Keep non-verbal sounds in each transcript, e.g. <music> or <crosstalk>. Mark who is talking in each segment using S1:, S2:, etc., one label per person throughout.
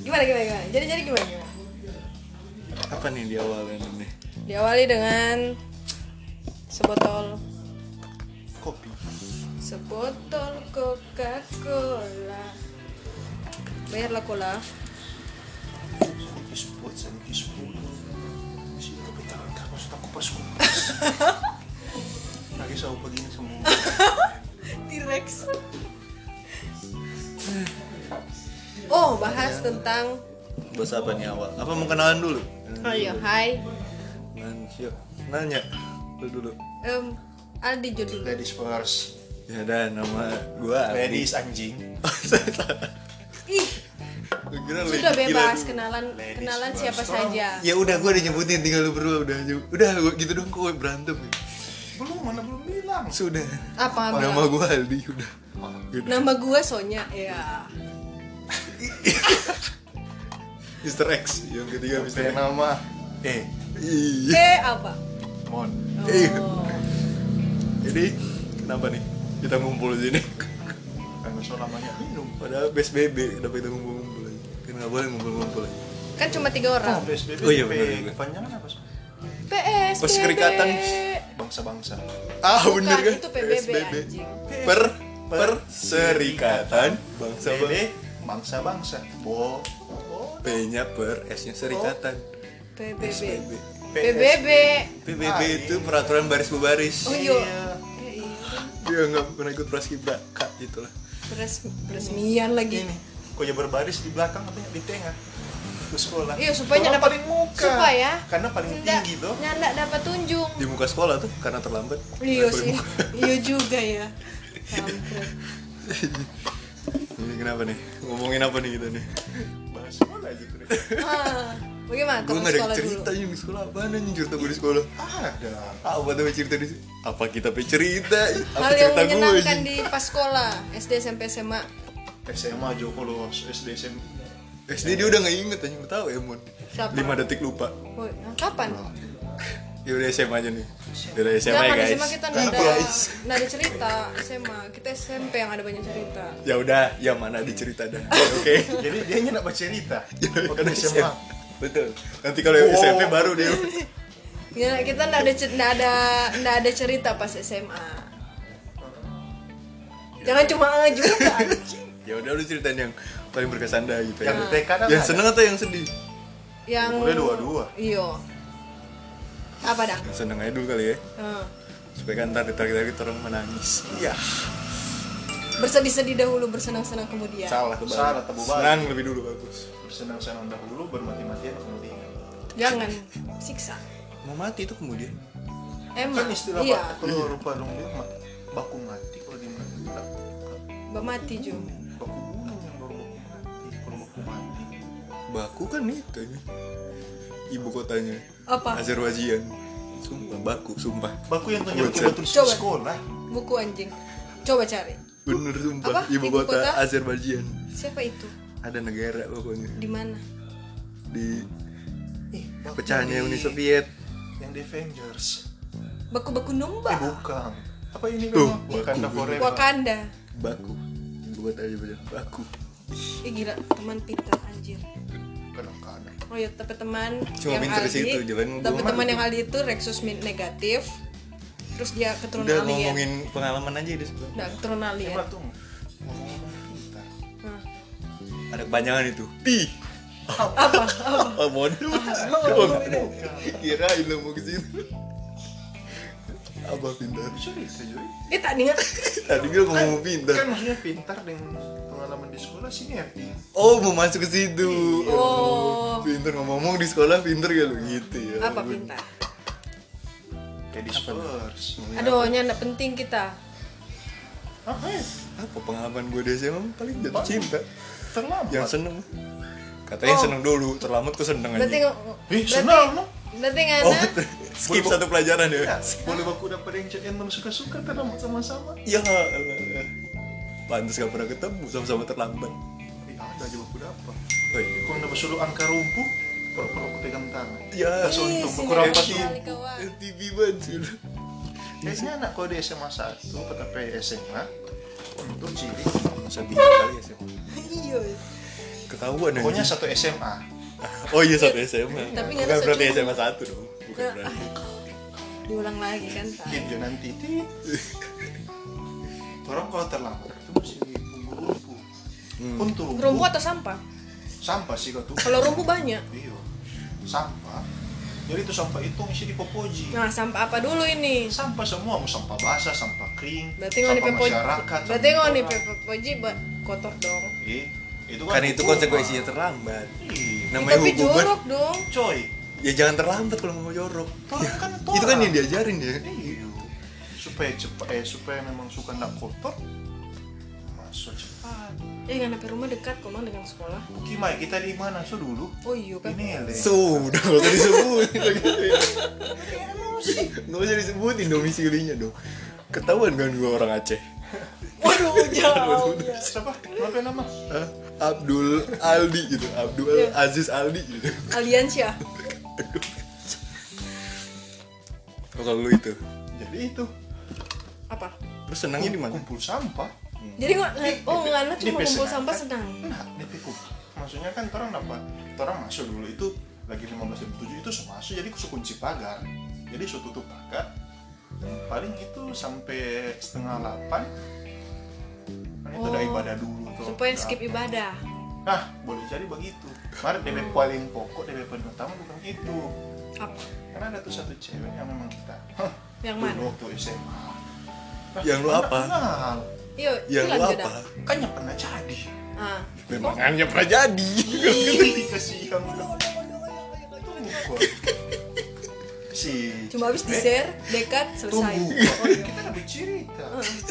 S1: gimana gimana gimana jadi jadi gimana gimana
S2: <laughs> apa nih di awalnya nih
S1: diawali dengan sebotol
S2: kopi
S1: sebotol Coca Cola bayarlah cola
S2: kopi sports kopi sepuluh masih kopi tangan kamu sudah kupas lagi sahur paginya <laughs> semua
S1: T-Rex oh bahas tentang
S2: bos apa nih awal apa mau kenalan dulu
S1: oh iya hai
S2: Nan- yuk, nanya lu dulu
S1: Em, Aldi Jo dulu
S3: Ladies first.
S2: ya dan nama gua Aldi. <laughs>
S3: Ladies anjing.
S1: Ih,
S2: Gua kira lagi, gila
S1: sudah bebas
S2: dulu.
S1: kenalan
S3: Ladies
S1: kenalan
S3: first.
S1: siapa
S3: Oh,
S1: saja
S2: ya udah gua udah nyebutin tinggal lu berdua udah nyebut udah gua gitu dong kok berantem ya.
S3: Belum mana belum bilang.
S2: sudah
S1: apa
S2: Oh, nama gua Aldi udah Udah.
S1: nama gue Sonya ya
S2: Mr. X yang ketiga Mr.
S3: Saya
S2: X
S3: nama eh
S2: Iya.
S1: eh apa
S3: Mon.
S2: Iya.
S1: oh.
S2: Jadi kenapa nih kita ngumpul di sini?
S3: Karena so namanya minum.
S2: Padahal PSBB kenapa kita ngumpul-ngumpul aja? Kan nggak boleh ngumpul-ngumpul aja.
S1: kan cuma tiga orang
S3: PSBB.
S2: Oh iya,
S3: P-
S2: benar juga.
S3: Kepanjangan apa sih?
S1: PSBB
S2: Pas kerikatan.
S3: Bangsa-bangsa.
S2: Ah
S1: Bukan,
S2: bener kan?
S1: itu PBB, anjing.
S2: Per per serikatan bangsa
S3: PSBB,
S2: bangsa.
S3: Bangsa-bangsa. Bo. Bo.
S2: P-nya per, S-nya serikatan.
S1: Oh, PBB PBB
S3: PBB.
S2: PBB
S3: Ah,
S2: itu peraturan baris berbaris.
S1: iya. oh iya
S3: Iya.
S1: Eh, iya.
S2: Dia nggak pernah ikut praskibra, kak gitu itulah.
S1: Peres, peresmian lagi
S3: Ini. Kok ya berbaris di belakang katanya di tengah. Ke sekolah.
S1: Iya, supaya
S3: Orang
S1: dapat-
S3: paling muka.
S1: supaya
S3: Karena paling
S1: ya. nggak
S3: tinggi tuh.
S1: nggak- nggak dapat tunjung
S2: Di muka sekolah tuh karena terlambat.
S1: iya
S2: Nggak boleh
S1: sih
S2: Iya. muka.
S1: <laughs> iya juga ya Kampret.
S2: Ini kenapa nih? Ngomongin apa nih kita nih?
S3: Bahas sekolah gitu aja tuh.
S1: Ah, bagaimana
S2: Gue
S1: teman
S2: nggak
S1: sekolah
S2: ada
S1: dulu
S2: cerita yang di sekolah apaan anjing cerita gue di sekolah.
S3: Ada.
S2: <laughs> apa tuh cerita di sini? Apa kita cerita? Apa
S1: hal yang
S2: cerita gue?
S1: menyenangkan
S2: anjing?
S1: di pas sekolah SD SMP SMA
S3: SMA Joko Los, SD SMP
S2: SD dia udah nggak inget aja, udah tahu ya Mon.
S1: Siapa?
S2: Lima detik lupa.
S1: Oh, nah, kapan
S2: Ya udah SMA aja nih. Udah SMA ya
S1: Jangan
S2: guys.
S1: SMA kita nggak ada
S2: Guys.
S1: nggak ada cerita SMA kita SMP yang ada banyak cerita
S2: Ya udah, ya mana dicerita
S1: <laughs>
S2: dah. Oke.
S3: <laughs>
S2: Ya kan
S3: Jadi dia nyenyak baca cerita. Waktu
S2: Iya, Karena
S3: SMA.
S2: Betul. Nanti kalau yang
S3: Wow.
S2: SMP
S1: Oh.
S2: baru dia.
S1: ya, kita nggak ada cer- nggak ada nggak ada cerita pas SMA jangan cuma "Eh"
S3: <laughs>
S1: juga anjing.
S2: Ya udah lu ceritain yang paling berkesan dah gitu.
S3: Yang TK dah
S2: Yang
S3: ada.
S2: seneng atau yang sedih?
S1: yang
S3: Boleh dua-dua.
S1: iyo apa dang
S2: Yang seneng aja dulu kali ya.
S1: Eh,
S2: Supaya kan ntar ditarik-tarik orang menangis. Iya.
S1: bersedih-sedih dahulu bersenang-senang kemudian
S2: Salah tuh.
S3: Salah, tebu balik.
S2: Senang lebih dulu bagus.
S3: Bersenang-senang dahulu, bermati-matian kemudian.
S1: jangan siksa
S2: Mau mati itu kemudian.
S1: emang
S3: Kan istilah
S1: iya
S3: Pak, kalau rupa dong dia mah baku mati kalau di mana enggak.
S1: Mbak mati Jo
S3: Baku bunuh yang baru baku mati. Kalau baku mati.
S2: Baku kan itu anjing. ibu kotanya
S1: apa
S2: Azerbaijan sumpah baku sumpah
S3: Baku yang ternyata
S2: Buat
S3: udah tulis
S1: Coba.
S3: di sekolah.
S1: buku anjing coba cari
S2: bener sumpah
S1: Apa?
S2: ibu,
S1: Ibu
S2: kota,
S1: kota?
S2: Azerbaijan
S1: siapa itu
S2: ada negara pokoknya
S1: di mana
S2: di
S3: Eh, baku
S2: pecahnya
S3: di-
S2: Uni Soviet
S3: Yang The Avengers.
S1: beku-beku
S3: Eh,
S1: nombak
S3: bukan. Apa ini
S2: Tuh,
S3: memang?
S2: baku
S3: Wakanda
S2: bunuh.
S3: Forever.
S1: Wakanda
S2: baku ibu kota Azerbaijan baku
S1: Ih gila, teman pinter anjir.
S3: Kadang-kadang.
S1: Oh ya, tapi teman
S2: Cuma pinter sih itu, jalan
S1: tapi
S2: gua
S1: teman
S2: mah.
S1: yang Aldi itu Rexus min- negatif. Terus dia keturunan
S2: udah
S1: alien.
S2: ngomongin pengalaman aja di sebelah
S1: Nah, keturunan alien.
S3: Hebat tuh. Ngomong-ngomong pintar.
S1: Nah,
S2: ada kepanjangan itu pi
S1: apa? <laughs>
S2: Amon kira ilmu ke situ abah pintar
S3: Bisa bisa, Joy.
S1: Eh tak dengar.
S2: tadi gue ngomong
S3: kan
S2: pintar
S3: maksudnya pintar dengan pengalaman di sekolah ya, sih happy
S2: oh mau masuk ke situ
S1: Oh.
S2: pintar ngomong-ngomong di sekolah pintar gak lu gitu ya
S1: Apa
S2: ampun.
S1: pintar?
S3: jadi first
S2: Iya.
S1: Aduh, nyanda penting kita.
S3: apa ya?
S2: apa pengalaman gue di SMA paling jatuh
S3: Apa?
S2: cinta
S3: terlambat
S2: yang seneng katanya
S1: Oh.
S2: seneng dulu terlambat kok seneng aja
S1: Berarti
S3: Ih,
S1: berarti-
S3: senang, no?
S1: Berarti ngana
S2: oh <laughs> skip satu pelajaran
S1: Iya.
S3: Ya,
S2: ya
S3: <laughs> boleh aku dapat yang cek yang suka-suka terlambat sama-sama Iya,
S2: ya Allah. pantas gak pernah ketemu sama-sama terlambat
S3: eh ada aja aku dapat
S2: oh iya
S3: kalau dapat suruh angka rumpuh kalau perlu aku pegang tangan
S2: ya
S1: Ih,
S3: untung,
S1: sinar
S3: kurang
S1: sekali,
S3: pas.
S1: kawan.
S2: TV banget sudah
S3: kayaknya anak kau di SMA 1 tapi SMA untuk ciri
S2: masa bilang kali ya SMA
S1: Iya.
S2: Ketahuan
S3: Pokoknya
S2: anjing.
S3: satu SMA.
S2: Oh iya satu SMA.
S1: Tapi nggak
S2: Bukan
S1: ada
S2: berarti
S1: satu.
S2: SMA satu dong. Bukan
S1: Nah,
S2: berarti.
S1: diulang lagi kan Pak.
S3: Gitu nanti tit. Orang kalau terlambat itu masih bumbu rumpu. Pun tuh
S1: rumpu atau sampah
S3: sampah sih kau tuh.
S1: kalau rumpu banyak
S3: Iya. Sampah. Jadi itu sampah itu ngisi di popoji.
S1: nah sampah apa dulu ini
S3: Sampah semua, mau sampah basah, sampah kering,
S1: berarti kalau di
S3: sampah
S1: pepo
S3: masyarakat.
S1: berarti
S3: sampah
S1: kalau di
S3: orang.
S1: pepoji buat kotor dong
S3: Eh, itu kan
S2: Kan itu
S3: hukuman.
S2: konsekuensinya
S1: gitu?
S2: terlambat.
S3: Ih,
S2: Namanya
S1: Eh, tapi
S2: hukuman.
S1: jorok dong
S3: Coy,
S2: Ya jangan terlambat kalau mau jorok.
S3: Tolong kan tolak.
S2: Itu kan yang diajarin ya.
S3: Iya. Supaya cepat eh supaya memang suka ndak kotor. Masuk cepat.
S1: ya kan sampai rumah dekat kok mang dengan sekolah
S3: Kimai kita di mana? So dulu.
S1: oh iya kan
S3: Ini ya? le.
S2: Sudah nggak usah
S1: <laughs>
S2: disebutin lagi. Nggak usah disebutin domisilinya dong. Ketahuan kan gua orang Aceh.
S1: waduh jauh ya.
S3: Siapa? Apa nama?
S2: Hah? Abdul Aldi gitu, Abdul
S1: Iya.
S2: Aziz Aldi gitu.
S1: aliansia
S2: Oh, kalau lu itu,
S3: Jadi itu.
S1: apa
S2: terus senangnya di mana?
S3: Kumpul sampah.
S1: jadi kok oh ngana
S3: Di
S1: cuma kumpul
S3: pesenangan.
S1: sampah senang
S3: Nah, dipikul. Maksudnya kan orang apa? Orang masuk dulu itu lagi 15.7 itu so masuk jadi so kunci pagar. Jadi so tutup pagar. Paling itu sampai setengah 8 Kan itu udah
S1: Oh.
S3: ibadah dulu tuh.
S1: supaya
S3: Nah,
S1: skip ibadah
S3: Nah, boleh jadi begitu. Kemarin DP
S1: Oh.
S3: paling pokok, DP paling utama bukan itu.
S1: apa
S3: Karena ada tuh satu cewek yang memang kita.
S1: yang
S3: Dulu
S1: mana
S3: waktu SMA.
S2: Yang lu
S3: anak
S2: apa?
S3: Nah, Kenal.
S1: yuk
S2: Yang Ya, lu
S1: Iya, lanjut
S2: apa?
S1: dah.
S3: Kan yang pernah jadi.
S1: ah
S2: Memang hanya pernah jadi.
S1: Iya.
S3: Ketika siang. Si.
S1: cuma habis di
S3: cewek,
S1: share dekat selesai
S3: Tunggu.
S1: oh, iya.
S3: Kita udah bercerita.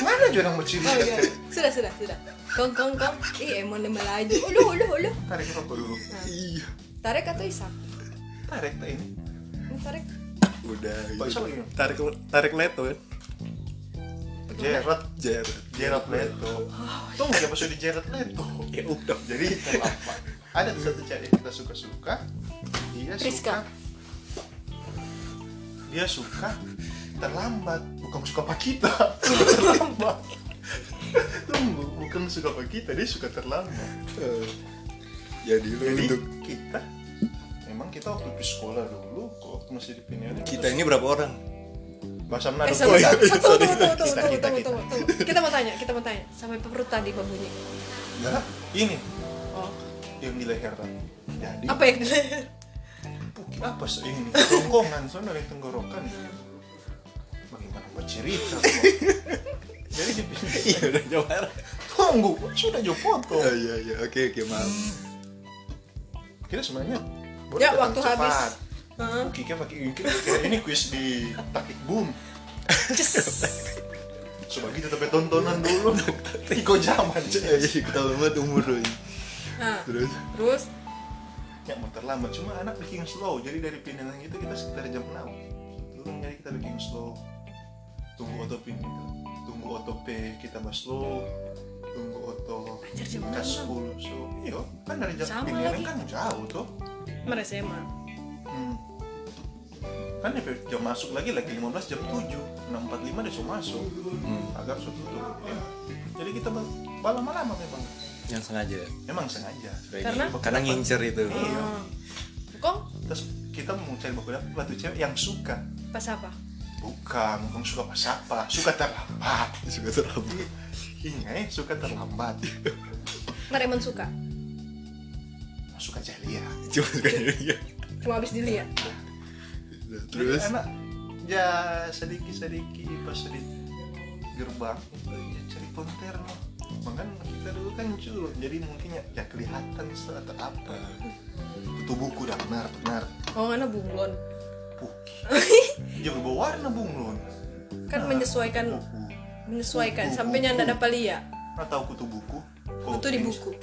S3: Mana juga orang bercerita?
S1: Oh iya, sudah sudah sudah. Kong kong kong. Ih, emang nembel aja. Uluh uluh uluh.
S3: Tarik rokok dulu.
S2: Iya,
S1: Tarik atau isak?
S3: Tarik tak ini.
S1: Ini tarik.
S2: udah.
S3: Pak, siapa lagi?
S2: Gitu. Tarik tarik leto kan?
S3: Jared.
S2: Jer.
S3: Jared Leto. Tunggu ya maksudnya Jared Leto.
S2: Ya udah.
S3: jadi <laughs> terlambat ada tuh satu cewek yang kita suka suka dia
S1: Priska.
S3: suka dia suka terlambat bukan suka apa kita
S1: <laughs>
S3: suka terlambat tunggu bukan suka apa kita dia suka terlambat
S2: Eh, Jadi lu
S3: jadi
S2: untuk
S3: kita memang kita waktu di sekolah dulu kok waktu masih di penyanyi
S2: kita ini berapa orang?
S3: bahasa
S1: Eh,
S3: Manado
S1: sama
S2: iya,
S1: satu, satu,
S2: sorry.
S1: tunggu, tunggu, tunggu,
S3: Kita, kita,
S1: tunggu,
S3: kita.
S1: tunggu, tunggu. Kita mau tanya, kita mau tanya. Sampai perut tadi kok bunyi.
S3: Nah, ini
S1: Oh,
S3: yang di leher tadi jadi
S1: apa ya? yang <laughs> dileher?
S3: Puki apa sih ini? Tongkongan soalnya dari tenggorokan. ya. Bagaimana bercerita? kok? Jadi dia bilang,
S2: Iya udah jawab.
S3: tunggu, sudah jauh foto.
S2: Oh iya iya, oke oke maaf.
S3: Kita sebenarnya boleh
S1: Ya,
S3: datang
S1: waktu habis.
S3: cepat.
S1: Hah?
S3: Puki kan pakai ini, kira ini kuis di taktik boom.
S1: Cus.
S3: Coba kita tapi tontonan dulu. Iko zaman
S2: Iya
S3: cuy.
S2: iya, ketahuan banget umur lu. ini.
S1: Nah,
S2: Terus
S1: terus
S3: Ya mau terlambat, cuma anak bikin slow. Jadi dari pindahan itu kita sekitar jam 6 Turun jadi kita bikin slow. Tunggu auto pin, tunggu auto P kita mas slow. Tunggu auto
S1: anjir jam
S3: Kas
S1: 6.
S3: 10 so, iya kan dari
S1: Sama
S3: jam pindahan
S1: lagi.
S3: kan jauh tuh
S1: Merasa emang.
S3: hmm. kan dari jam masuk lagi lagi 15 jam 7 6.45 dia suruh masuk agar suruh tutup ya. jadi kita bal- lama-lama memang
S2: yang sengaja.
S3: memang sengaja
S1: Karena?
S2: karena ngincer itu.
S3: Iya.
S1: Ah. Kong
S3: terus kita mau cari baku dapur batu cewek yang suka
S1: pas apa?
S3: bukan bukan suka pas apa suka terlambat
S2: <laughs> Suka terlambat.
S3: ingat suka
S2: <laughs>
S3: terlambat
S1: Ntar emang suka.
S3: suka ceria
S2: Cuma suka dia.
S1: Cuma habis ya? dilihat.
S2: Terus
S3: Jadi anak ya sedikit sedikit pas di gerbang itu ya cari ponter no. Makan kita dulu kan curut jadi mungkin ya, ya kelihatan se- atau apa itu buku dah benar benar
S1: Oh, karena bunglon. <laughs>
S3: Puki dia berubah warna bunglon
S1: Kan
S3: Nah.
S1: menyesuaikan
S3: buku
S1: menyesuaikan sampai nyanda dapat lihat.
S3: nah tahu kutu buku Kau
S1: Itu di
S3: pinch-
S1: buku.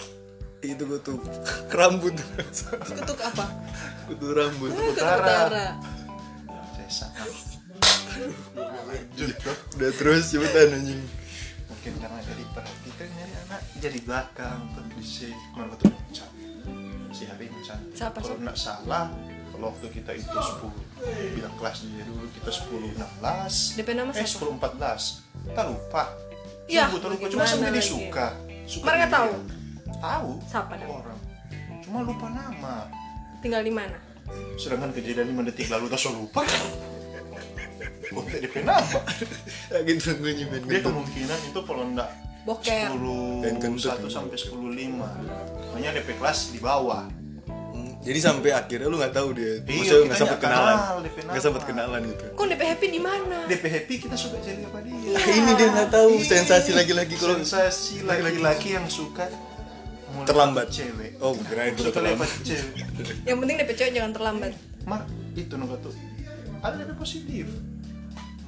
S2: itu gua tuh rambut.
S1: Kutuk apa?
S2: Kutu rambut.
S1: Kutuk
S3: Utara.
S1: utara.
S3: saya sangat lanjut tuh
S2: Iya. Udah terus cepetan anjing.
S3: mungkin karena jadi perhatikan ya anak jadi belakang kondisi mana betul mencan si hari mencan
S1: Siapa,
S3: kalau
S1: siapa?
S3: nggak salah kalau waktu kita itu 10 bilang kelas dia dulu kita 10 16
S1: DP nama
S3: eh
S1: siapa?
S3: 10 14 tak lupa
S1: Yah,
S3: Sungguh tak lupa cuma
S1: bagaimana
S3: sampai dia
S1: lagi?
S3: suka
S1: Iya.
S3: suka
S1: Mereka
S3: dia.
S1: tahu?
S3: tahu
S1: Siapa dah?
S3: orang cuma lupa nama
S1: Tinggal di mana?
S3: sedangkan kejadian 5 detik lalu tak lupa <laughs> Oh, DP nama
S2: Lagi tunggu nyimpen Ya
S3: dia
S2: gitu.
S3: kemungkinan itu kalau enggak
S1: Boker.
S3: 10
S2: Dan kentut.
S3: 1 sampai 10 lima makanya DP kelas di bawah
S2: Hmm, Jadi sampai akhirnya lu nggak tahu dia.
S3: Iya,
S2: Maksudnya
S3: kita
S2: nggak sempet
S3: nggak
S2: kenalan.
S3: kenal, dia kenal.
S2: Nggak sempet kenalan gitu.
S1: Kok DP Happy di mana?
S3: DP happy kita suka jadi apa
S2: <laughs>
S3: dia
S2: Ini dia Iya, nggak tahu
S3: Ih,
S2: sensasi lagi-lagi kalau
S3: Iya, sensasi laki-laki yang suka melepas
S2: Terlambat.
S3: cewek
S2: Oh, kirain gua
S3: suka
S2: terlambat.
S3: lepas cewek
S1: Yang penting DP cewek jangan terlambat.
S3: mar itu nunggu tuh ada lebih positif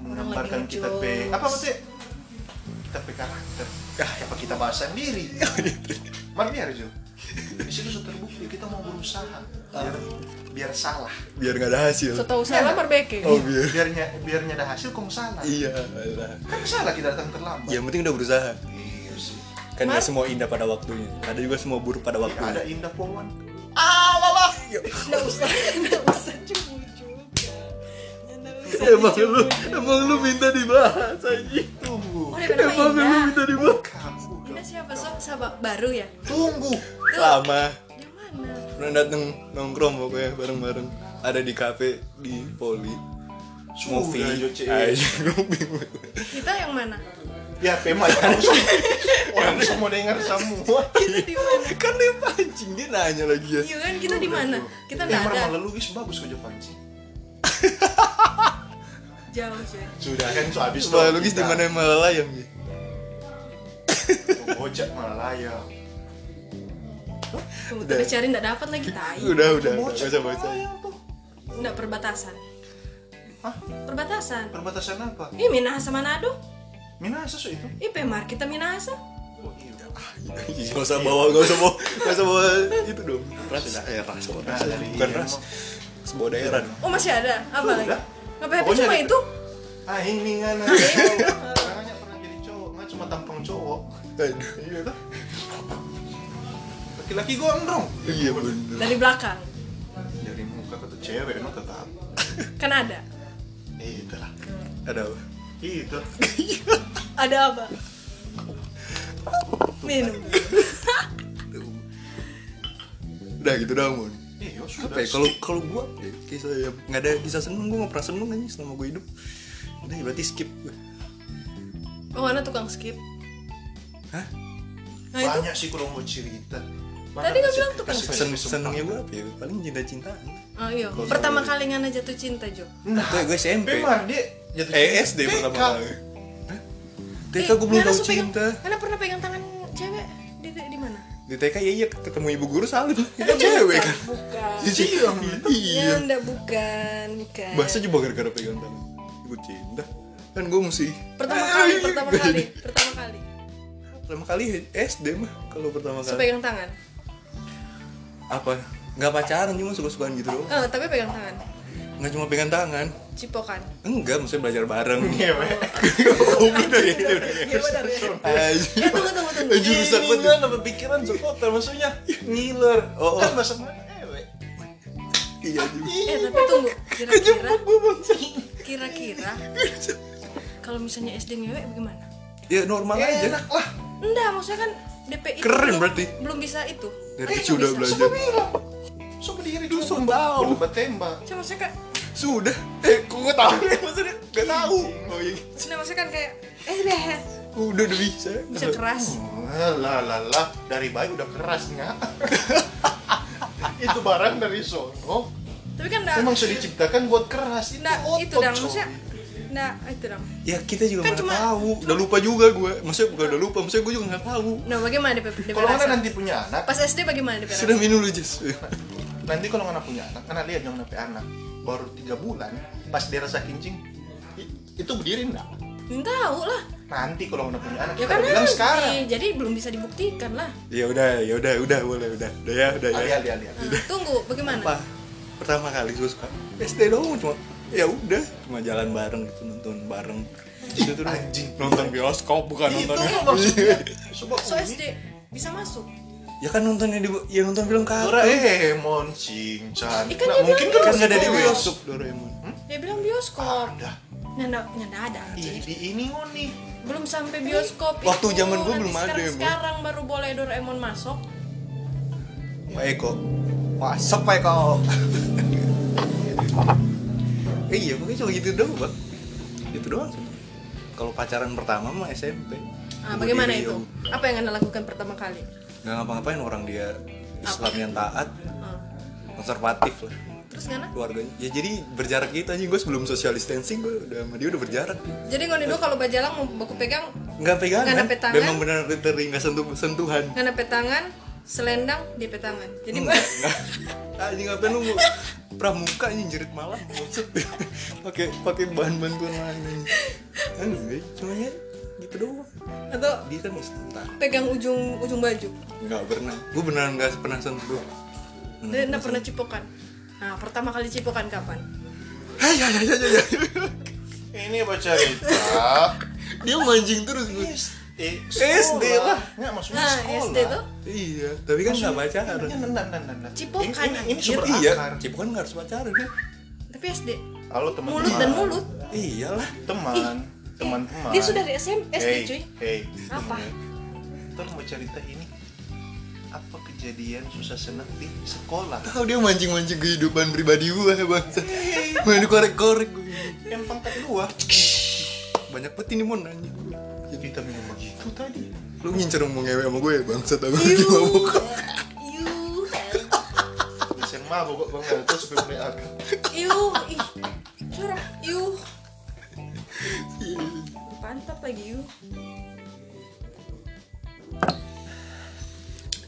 S1: Orang
S3: menggambarkan
S1: lagi
S3: kita pe
S1: ngejokes.
S3: apa maksudnya kita pe karakter ah, apa kita bahas
S2: <laughs>
S3: sendiri
S2: Oh, iya.
S3: mar biar aja di situ sudah terbukti kita mau berusaha biar biar salah
S2: biar nggak ada hasil.
S1: Setahu
S3: Iya.
S1: saya lamar beke.
S2: Oh biar.
S3: biarnya biarnya ada hasil kamu salah
S2: Iya. alah.
S3: kan salah kita datang terlambat
S2: Yang penting udah berusaha.
S3: iya sih
S2: Kan nggak semua indah pada waktunya. Ada juga semua buruk pada
S3: Ya, ada
S2: waktunya. Iya.
S3: Indah Powan ah lalah
S1: Nggak usah, nggak usah cukup juga. Nggak usah
S2: <laughs> Emang lu,
S1: cupu-cupu.
S2: emang lu minta dibahas aja.
S3: tunggu
S1: Oh, DP nama Indah.
S2: dibahas.
S3: kamu
S1: Indah siapa sob? Sahabat baru ya?
S3: tunggu
S2: Lama.
S1: Yang mana?
S2: Pernah dateng nongkrong pokoknya bareng-bareng. Ada di kafe di Poli. Movie.
S3: Sudah, Joce.
S2: Ayo, <laughs> gua bingung.
S1: Kita yang mana?
S3: ya tema ya orang semua denger semua
S1: Kita di mana?
S2: kan dia pancing dia nanya lagi ya.
S1: Iya kan kita di mana? Kita
S3: Eh,
S1: nggak
S3: Mar,
S1: ada.
S3: malah lu guys bagus kerja panci
S1: Jauh sih.
S3: sudah kan so habis
S2: Sebuah logis di mana yang malah layang ya? nih.
S3: bocak malah ya
S1: Tunggu
S2: Udah.
S1: udah cari nggak dapat lagi tai.
S2: Udah udah,
S3: Bocah.
S2: baca baca.
S1: Nggak perbatasan.
S3: Hah?
S1: Perbatasan.
S3: perbatasan apa
S1: Ih Minahasa Manado?
S3: Minahasa so itu
S1: Ih Pemar kita Minahasa?
S3: oh iya
S2: Gak usah bawa, gak usah bawa, gak usah bawa itu dong. Ras, eh ras, kok ras,
S3: Nah, dari-
S2: bukan ras. Sebuah daerah dong.
S1: Oh masih ada? Apa lagi?
S3: Sudah.
S1: Apa happy
S3: Pokoknya
S1: cuma
S3: ada-
S1: itu?
S3: ah ini kan makanya pernah jadi cowok nggak cuma tampang cowok
S2: Aduh,
S3: iya tuh laki-laki gondrong
S2: iya bener.
S1: Dari belakang.
S3: dari muka kata cewek no tetap
S1: Kan ada.
S3: eh itulah
S2: Ada apa?
S3: itu
S1: Ada apa? Minum.
S2: Tuh. Udah gitu dah mon.
S3: iya sudah
S2: Apa ya? Kalau kalau gua ya, kisah ya nggak ada kisah seneng, gua nggak pernah seneng aja selama gua hidup. Udah ya berarti skip. gua.
S1: Oh mana tukang skip?
S2: Hah?
S1: Nah itu
S3: banyak sih kalau mau cerita
S1: Tadi nggak bilang tuh, kan?
S2: Sen senengnya gua apa ya? Paling cinta cintaan.
S1: Oh iya, pertama kali Ngana jatuh cinta Jo
S3: nah
S2: Gue gue SMP.
S3: Bemar dia jatuh
S2: Eh,
S3: cinta.
S2: SD
S3: TK.
S2: pertama kali. Hah? TK gue belum
S1: Eh, Ngana
S2: tahu
S1: suka pegang-
S2: cinta.
S1: Ngana pernah pegang tangan cewek di, di mana?
S2: Di TK ya iya ketemu ibu guru salim. Itu cewek kan.
S1: Bukan
S2: Iya, Iya.
S1: Ya
S2: Iya.
S1: enggak, bukan, bukan
S2: Bahasa juga gara-gara pegang tangan. Ibu cinta. Kan gue mesti
S1: Pertama kali,
S2: Eh,
S1: pertama
S2: gak
S1: kali,
S2: jadi.
S1: pertama kali
S2: Pertama kali SD mah kalau pertama
S1: So
S2: kali.
S1: pegang tangan?
S2: Apa? Gak pacaran cuma suka-sukaan gitu doang.
S1: Eh, tapi pegang tangan
S2: Gak cuma pegang tangan.
S1: Cipokan
S2: Enggak, mesti belajar bareng.
S3: Ngewe.
S2: Goblok dari itu.
S1: Iya benar ya
S2: Ayo.
S1: Eh tunggu, tunggu, tunggu
S2: Jurusan
S3: Eh,
S2: apa tuh?
S3: ngiler apa pikiran supporter maksudnya ngiler
S2: Oh, oh.
S3: kan bahasa mana ewe
S2: Iya juga.
S1: Eh tapi tunggu, kira-kira
S2: <laughs>
S1: Kira-kira Kalau misalnya SD ngewe bagaimana?
S2: Ya normal aja.
S3: enak lah
S1: Enggak, maksudnya kan DP itu
S2: Keren
S1: belum-
S2: berarti.
S1: Belum bisa itu
S2: Dari
S1: Eh,
S2: kecil
S1: nggak
S2: udah
S1: bisa.
S2: belajar.
S3: siapa bilang Sumpah diri dulu
S2: sumbau.
S3: Berdebat tembak
S1: Cuma maksudnya kan
S2: Sudah. Eh, kok gue tahu ya maksudnya? Gak tahu. Oh iya.
S1: Nah, maksudnya kan kayak eh deh
S2: Udah udah bisa.
S1: bisa
S3: Oh.
S1: keras.
S3: Eh, lah lah lah dari bayi udah keras nggak <laughs> itu barang dari sono
S1: Tapi kan enggak
S3: emang Oh, sudah diciptakan buat keras itu
S1: enggak Nah, itu
S3: otot,
S1: dong
S3: coy.
S1: maksudnya enggak itu dong.
S2: Ya kita juga
S1: Kan
S2: nggak
S1: cuma-
S2: tahu. Udah lupa juga gue. Maksudnya bukan udah lupa, maksudnya gue juga nggak tahu.
S1: Nah, bagaimana DP DP
S3: kalau
S1: rasa?
S3: mana nanti punya anak
S1: Pas SD bagaimana DP rasa?
S2: Sudah minum lu Jess.
S3: nanti kalau nggak punya anak karena lihat yang nape anak baru tiga bulan pas dia rasa kencing i- itu berdiri enggak
S1: Nggak tahu lah.
S3: nanti kalau nggak punya anak
S1: Ya
S3: kita
S1: kan
S3: bilang
S1: nanti.
S3: sekarang
S1: Jadi belum bisa dibuktikan lah.
S2: Ya udah, ya udah, udah boleh udah. Udah ya, udah
S3: ali
S2: ya.
S3: ali ali ali.
S1: Nah, tunggu bagaimana?
S2: Apa? Pertama kali gue suka SD doang cuma ya udah cuma jalan bareng gitu nonton bareng itu tuh
S3: Anjing.
S2: nonton bioskop bukan
S3: itu
S2: nonton
S1: <laughs>
S3: maksudnya sebuah
S1: So
S3: umi
S1: SD bisa masuk.
S2: ya kan nontonnya di ya nonton film kartun
S3: Doraemon Shinchan
S1: Ikan
S3: Nah,
S1: dia
S3: mungkin
S1: bilang
S2: kan nggak ada di
S1: Bioskop.
S2: bioskop Doraemon
S1: Dia bilang bioskop. Nah,
S3: ada Iya.
S1: Nyanda nyanda ada.
S3: Ih, di ini ngoni
S1: Belum sampai bioskop.
S2: Waktu
S1: itu.
S2: zaman gua
S1: Nanti
S2: belum ada,
S1: sekarang-
S2: Bang.
S1: Sekarang baru boleh Doraemon masuk.
S2: Pak Eko masuk Pak Eko Eh, <laughs> iya mungkin cuma gitu doang bang gitu doang sih. kalau pacaran pertama mah SMP
S1: Ah, bagaimana
S2: Budi-
S1: itu? Apa yang anda lakukan pertama kali?
S2: nggak ngapa-ngapain orang dia Islam yang taat
S1: Ah,
S2: konservatif lah
S1: Terus ngana?
S2: keluarganya ya jadi berjarak gitu aja gue sebelum social distancing gue udah sama dia udah berjarak
S1: Jadi ngono dulu kalau bajalang mau baku pegang,
S2: nggak pegangan
S1: Nggak nape tangan?
S2: memang benar teri nggak sentuh sentuhan
S1: ngana petangan, selendang di petangan. Jadi
S2: nggak nggak anjing ngapain lu mau- pramuka anjing jerit malam maksud <laughs> pakai pakai bahan bantuan lain anjing cuma ya gitu doang
S1: <laughs> atau
S2: dia kan Islam taat
S1: pegang ujung ujung baju.
S2: nggak pernah gue beneran nggak pernah sentuh Hmm,
S1: Dia nggak pernah cipokan. Nah, pertama kali cipokan kapan?
S2: Hai, hai, hai, hai, hai.
S3: Ini apa cerita?
S2: dia mancing terus gue
S3: Eh,
S2: SD lah.
S3: Nggak, maksudnya
S1: Nah,
S3: sekolah.
S1: SD tuh
S2: iya tapi kan nggak pacaran
S1: Iya.
S3: Ini, ini, ini, ini, ini.
S1: Cipokan,
S3: Ini, ini, ini sumber
S2: iya
S3: akar.
S2: cipokan nggak harus pacaran ya
S1: tapi SD
S3: Halo teman-teman.
S1: mulut dan mulut.
S2: iyalah
S3: Teman, teman-teman.
S1: Dia sudah di SMP SD
S3: Hey,
S1: cuy.
S3: Hey,
S1: Apa?
S3: Ntar mau cerita ini apa kejadian susah senang di sekolah?
S2: tahu dia mancing-mancing kehidupan pribadi gue bangsa main korek-korek gue
S3: Yang pangkat dua.
S2: banyak peti nih mon nanya
S3: Kita minum begitu tadi.
S2: lu ngincer mau ngewe sama gue ya bangsa tapi lagi mabuk
S1: Iu,
S3: Terus yang mabuk kok bang terus gue mulai akar.
S1: iu, ih, curah, iu. Pantat lagi iu.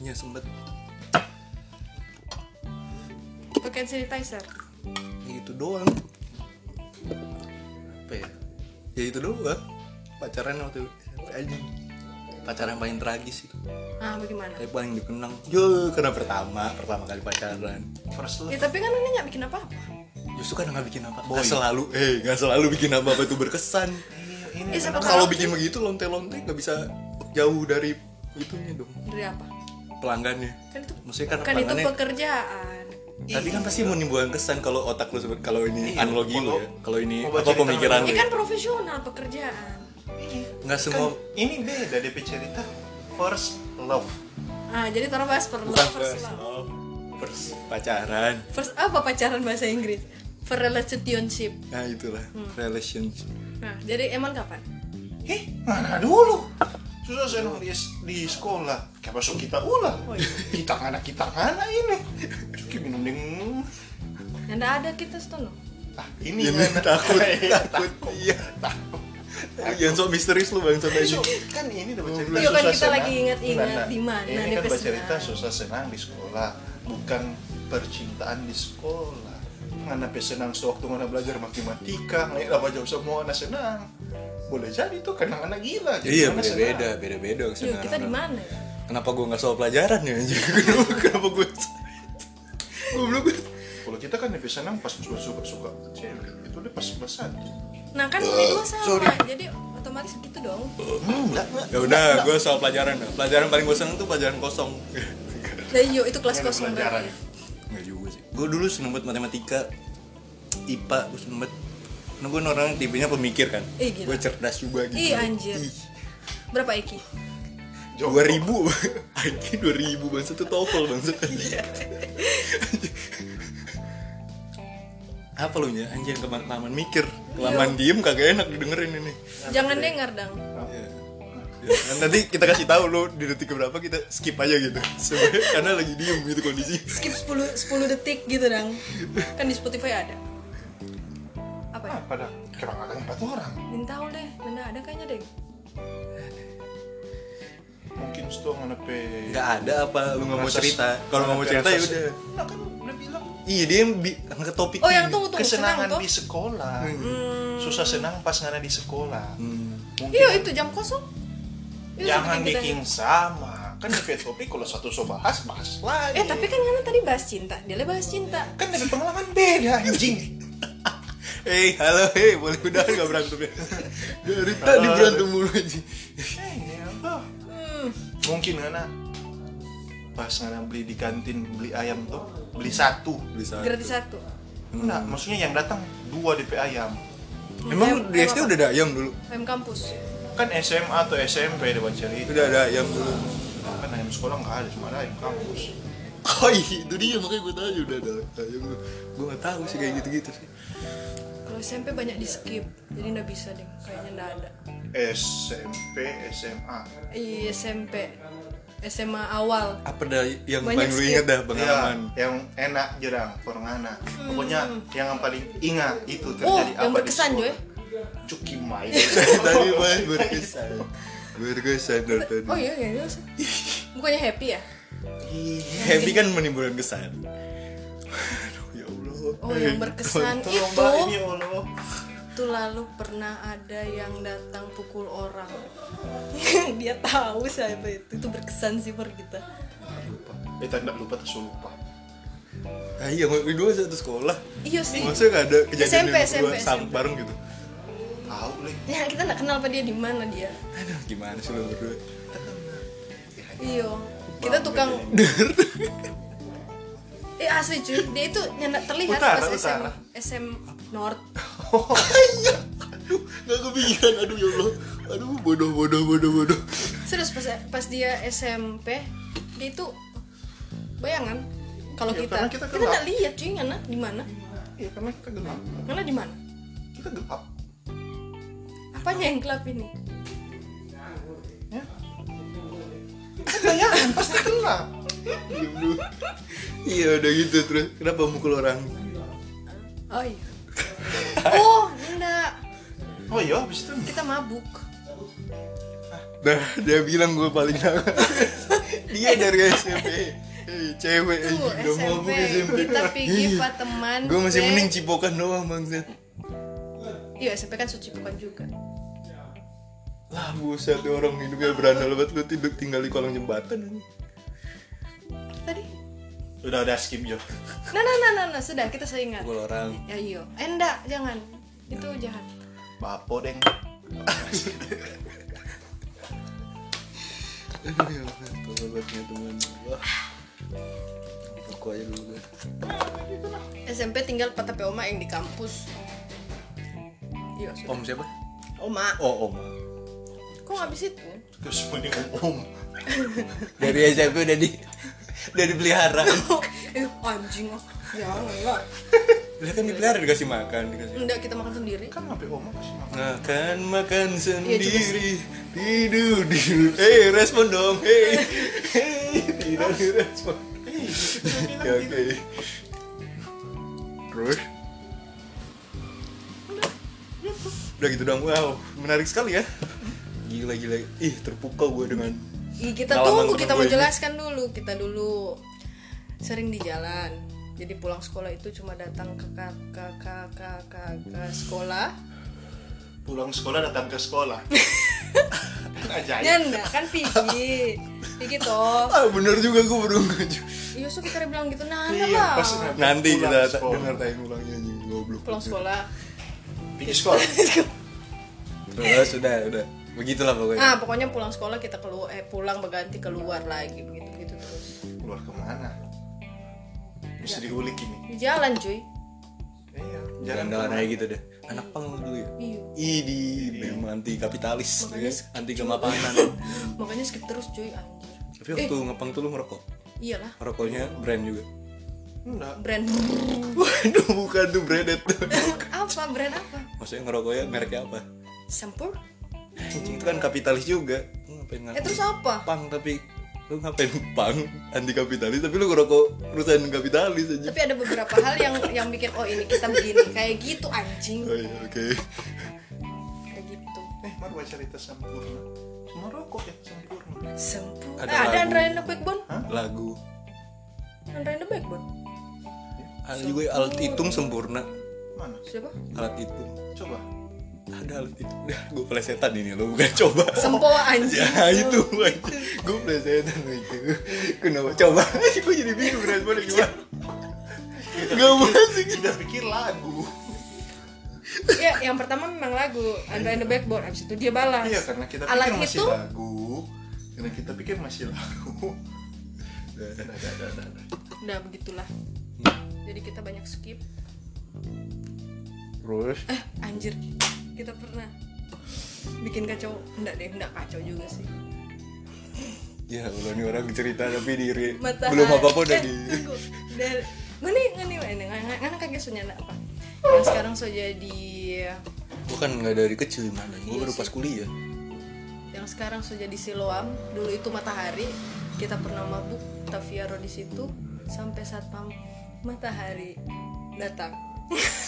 S2: ya sempet
S1: Pakai sanitizer.
S2: ya itu doang apa ya ya itu doang pacaran waktu SMP aja pacaran paling tragis itu
S1: Ah, bagaimana?
S2: tapi paling dikenang yo karena pertama pertama kali pacaran
S3: First
S1: Ya
S3: love.
S1: tapi kan ini nggak bikin apa-apa.
S2: justru kan nggak bikin apa
S3: Boy.
S2: nggak selalu eh nggak selalu bikin apa apa itu berkesan
S3: Iya, Ini,
S1: Eh, siapa
S3: kenapa?
S2: kalau bikin begitu lonte-lonte nggak bisa jauh dari itunya dong
S1: Dari apa?
S2: pelanggannya
S1: Kan itu
S2: maksudnya kan,
S1: kan itu
S2: pelanggannya
S1: pekerjaan.
S2: tapi kan pasti menimbulkan kesan kalau otak lu sebut kalau ini
S3: Iya,
S2: analogi lu
S3: kalau-
S2: ya kalau ini
S3: kalau
S2: apa
S3: cerita
S2: pemikiran lu
S1: Ini
S2: ya.
S1: kan profesional pekerjaan.
S2: nggak
S3: Kan,
S2: semua
S3: ini beda DP cerita first love.
S1: Ah, jadi taruh bahas per
S2: bukan
S1: first
S2: first
S1: love.
S2: love first pacaran
S1: First apa pacaran bahasa Inggris? For relationship.
S2: nah itulah relationship
S1: Nah, jadi emang kapan?
S3: Heh, mana dulu? Susah senang di, di sekolah. Kayak masuk kita ulah. Kita ngana kita ngana ini. Cuki minum ding.
S1: Ya, Nggak ada kita setuju.
S3: Ah, ini
S2: ini
S3: ngana. <laughs>
S2: takut
S3: Eh,
S2: takut iya Lu jangan sok misterius lu bang sampai
S3: so, kan ini dapat cerita
S1: Iya, kan
S3: susah
S1: kita
S3: senang.
S1: lagi ingat-ingat
S3: Nah, nah,
S1: di mana
S3: Ini kan
S1: DP
S3: dapat cerita
S1: senang.
S3: susah senang di sekolah, bukan percintaan di sekolah. Ngana pe senang sewaktu ngana belajar matematika, ngana apa jauh semua ngana senang. Boleh jadi tuh karena ngana gila. jadi
S2: iya
S3: ngana
S2: beda
S3: senang.
S2: beda beda beda
S1: Yuk, kita di mana? ya?
S2: kenapa gue nggak soal pelajaran ya anjing? <laughs> Kenapa- kenapa gue gue belum
S3: Kalau kita kan lebih senang pas suka suka suka cewek, itu dia pas sebelas satu.
S1: Nah, kan ini dua sama. Jadi otomatis gitu dong.
S3: Enggak,
S2: ya udah gue soal pelajaran ya. pelajaran paling gue seneng tuh pelajaran kosong <laughs>
S1: Nah, yuk itu kelas kosong
S3: pelajaran.
S1: berarti.
S2: nggak juga sih gue dulu seneng banget matematika ipa gue seneng banget karena gue orangnya tipenya pemikir kan
S1: Ih, gila.
S2: gue cerdas juga gitu
S1: Ih, anjir. Berapa Eki?
S2: dua ribu <laughs> anjing dua ribu bangsa tuh TOEFL
S1: <laughs>
S2: bangsa
S1: Iya.
S2: apa lu nya anjing kelamaan kelamaan mikir
S1: Iya.
S2: kelamaan diem kagak enak didengerin ini
S1: Jangan dengar dong.
S2: Iya. Ya, kan nanti kita kasih tahu lu di detik berapa kita skip aja gitu <laughs> Sebenarnya karena lagi diem gitu kondisi
S1: Skip 10 10 detik gitu dong. Kan di Spotify ada. Apa ya?
S3: Ah, pada kira ada empat orang.
S1: Minta deh, Nanda ada kayaknya deh.
S3: Mungkin itu ngana pe.
S2: nggak ada apa lu nggak mau
S3: Rasa-
S2: cerita kalau nggak mau cerita ya
S3: rasa-
S2: udah
S3: Nah, kan udah bilang
S2: iya dia yang bi- angkat topik
S1: Oh yang
S2: tuh
S1: tunggu tunggu senang
S3: kesenangan
S1: tuh.
S3: di sekolah.
S1: Hmm.
S3: Susah senang pas ngana di sekolah.
S2: Hmm.
S3: Mungkin
S1: Iya itu jam kosong. Yuk,
S3: jangan
S1: kita-
S3: bikin sama. Kan DP <laughs> topik kalau satu so bahas bahas lagi.
S1: Eh tapi kan Nana tadi bahas cinta, dia lah bahas cinta.
S3: kan dari pengalaman beda anjing.
S2: Hei, halo, hei, boleh udah
S1: <laughs>
S2: nggak berantem ya? Dari tadi
S3: Halo.
S2: berantem mulu aja.
S3: Eh,
S1: Iya.
S3: <laughs> ya Allah.
S1: Hmm.
S3: Mungkin ngana pas ngana beli di kantin beli ayam tuh beli satu
S2: Bisa.
S1: Gratis satu.
S3: Enggak, maksudnya yang datang dua DP ayam.
S2: Emang di SD udah ada ayam dulu?
S1: PM kampus.
S3: Kan SMA atau SMP ada baca itu.
S2: Udah ada ayam dulu.
S3: Kan ayam sekolah nggak ada, cuma ada ayam kampus.
S2: oh iya itu dia makanya gue tanya udah ada ayam gue gue nggak tahu sih kayak gitu gitu sih
S1: Kalau SMP banyak di skip, jadi nggak bisa deh. Kayaknya nggak ada.
S3: SMP SMA
S1: Iya SMP, SMA awal.
S2: apa dah yang
S1: Banyak
S2: paling lu
S1: skip.
S2: inget dah bang
S3: Ya,
S2: Aman
S3: yang enak jerang porngana pokoknya yang paling ingat itu
S1: Hmm. Oh,
S3: terjadi apa
S1: yang berkesan
S3: di
S1: Joy.
S3: sekolah. cuki
S1: <laughs>
S3: mai
S2: <laughs> tadi mas berkesan berkesan dari tadi
S1: Oh iya, iya, iya. Bukannya happy ya?
S2: happy kan menimbulkan kesan <laughs> Aduh, ya allah
S1: Oh, yang berkesan
S3: Eh, tolong mbak ini
S1: itu,
S3: ya allah
S1: itu lalu pernah ada yang datang pukul orang. <laughs> Dia tahu siapa itu. Itu berkesan sih buat kita.
S3: lupa eh tidak lupa terus lupa
S2: ah iya mau dua satu sekolah
S1: Iya sih.
S2: maksudnya nggak ada kejadian
S1: SMP,
S2: yang berdua
S1: SMP.
S2: sam- bareng gitu
S3: tahu leh
S1: Ya kita nggak kenal apa dia di mana dia.
S2: aduh gimana sih lu berdua
S1: Iyo, Iya. kita tukang. <laughs> eh asli cuy, dia itu nyendak terlihat
S3: Utara,
S1: pas SM,
S3: utara.
S1: SM North.
S2: iya aduh nggak kepikiran aduh ya allah aduh bodoh bodoh bodoh bodoh
S1: Serius pas pas dia SMP, dia itu bayangan kalau
S3: Iya,
S1: kita
S3: karena
S1: kita
S3: kita gelap.
S1: nggak lihat cuy ngana di mana
S3: iya karena kita gelap
S1: ngana di mana
S3: kita gelap
S1: apanya yang gelap ini
S3: ya. Kan banyak pasti gelap
S2: Diam dulu. iya udah gitu terus kenapa mukul orang
S1: oh
S3: <laughs>
S1: iya oh enggak
S3: oh iya habis itu
S1: kita mabuk
S2: Nah, dia bilang gue paling <laughs> nakal. dia dari SMP. Eh, cewek anjing,
S1: tuh
S2: udah
S1: SMP
S2: mabuk SMP.
S1: kita
S2: Ih,
S3: Iya.
S1: pergi pak teman
S2: Gue Iya, masih
S1: P.
S2: mending cipokan doang bangset.
S1: iya SMP kan suci bukan juga
S2: Lah, buset tuh orang hidupnya berandal banget lu tidur tinggal di kolong jembatan. anjing.
S1: tadi
S3: udah udah skip jo
S1: nah nah nah nah, nah. sudah kita seingat
S2: Mukul orang.
S1: Ya iyo, eh enggak, jangan. Itu jahat.
S3: bapo deng
S2: Aduh, ya Allah, tolol banget teman. Wah. Buku aja dulu gue.
S1: SMP tinggal patah pe oma yang di kampus. Iya, sudah.
S2: Om siapa?
S1: Oma.
S2: Oh, Om.
S1: Kok habis itu?
S3: terus mending om om
S2: Dari SMP udah di udah dipelihara.
S1: eh, anjing. oh. Jangan lah.
S2: Dia kan dipelihara dikasih makan, dikasih
S1: Enggak, kita makan sendiri.
S3: kan sampai om masih makan
S2: Makan makan
S1: juga
S2: sendiri tidur tidur. Eh respon dong. Hei hei tidak direspon. <laughs> Oke Ya, oke. Terus udah gitu dong wow menarik sekali ya gila gila ih terpukau gue dengan
S1: Ih, kita
S2: Pengalaman
S1: tunggu,
S2: temen
S1: kita
S2: gue
S1: mau
S2: ini.
S1: jelaskan dulu. Kita dulu sering di jalan. Jadi pulang sekolah itu cuma datang ke kakak kakak kakak sekolah.
S3: pulang sekolah datang ke sekolah kan ajaib
S1: Nyanda kan pergi. Pergi toh.
S2: ah bener juga gue baru ngacu
S1: Iya, so kita bilang gitu. Nah,
S3: Iya,
S1: nah,
S3: pas
S1: Bang.
S2: nanti
S3: Pulang
S2: kita
S3: sekolah.
S2: dengar tayang ulangnya anjing goblok
S1: pulang sekolah.
S3: pergi sekolah
S2: terus sudah udah begitulah pokoknya
S3: Iya.
S1: Nah, pokoknya pulang sekolah kita keluar eh pulang berganti keluar lagi begitu begitu terus.
S3: keluar kemana bisa diulik
S1: Di
S3: ini
S1: jalan, cuy.
S3: iya
S2: jangan
S3: kemana.
S2: kayak gitu deh anak pang lu dulu ya
S1: Iya.
S2: Idi, memang anti kapitalis,
S1: Makanya
S2: ya. anti kemapanan.
S1: Makanya skip terus, cuy, anjir.
S2: Tapi waktu ngepang tuh lu ngerokok,
S1: Iyalah,
S2: rokoknya brand juga.
S3: enggak
S1: brand <laughs>
S2: Waduh, bukan tuh branded tuh.
S1: apa? Brand apa?
S2: Maksudnya ngerokoknya mereknya apa?
S1: Sempur?
S2: Anjing itu kan kapitalis juga. Lu ngapain
S1: Eh
S2: ngapain
S1: terus apa?
S2: pang tapi lu ngapain pang anti kapitalis tapi lu ngerokok perusahaan kapitalis aja.
S1: Tapi ada beberapa hal yang yang bikin oh ini kita begini kayak gitu anjing
S2: Oh iya, oke.
S1: kayak gitu.
S3: eh mar baca cerita sempurna semua rokok ya sempurna
S1: Sempur.
S2: Ada
S1: Eh, Ada,
S2: lagu.
S1: ada Andra and the Backbone?
S2: Lagu
S1: Andra and the Backbone.
S2: ada juga alat hitung sempurna.
S3: mana
S1: Siapa?
S2: Alat hitung.
S3: coba
S2: Ada alat hitung. Dah, gue pelesetan ini lo bukan coba.
S1: Sempo anjing.
S2: ya itu gue pelesetan itu kenapa coba <laughs> gue jadi bingung responnya gimana gak masuk
S3: tidak pikir lagu
S1: Ya, yang pertama memang lagu Andra and the Backbone. Abis itu dia balas.
S3: iya karena kita pikir
S1: Alat
S3: masih
S1: itu
S3: lagu karena kita pikir masih lagu Dah, dah, dah, dah, dah.
S1: udah begitulah. Jadi kita banyak skip.
S2: terus
S1: Eh, anjir. Kita pernah bikin kacau. Enggak deh, enggak kacau juga sih.
S2: ya Allah nih orang cerita tapi diri
S1: matahari
S2: belum apa apa udah
S1: Eh,
S2: di
S1: tunggu. Dari- ngani ngani ngani ngani ngani kakek sunyana apa yang sekarang so jadi
S2: bukan nggak dari kecil mana gue
S1: Iya
S2: baru
S1: sih.
S2: pas kuliah
S1: yang sekarang so jadi siloam dulu itu matahari kita pernah mabuk taviaro di situ sampai saat pam matahari datang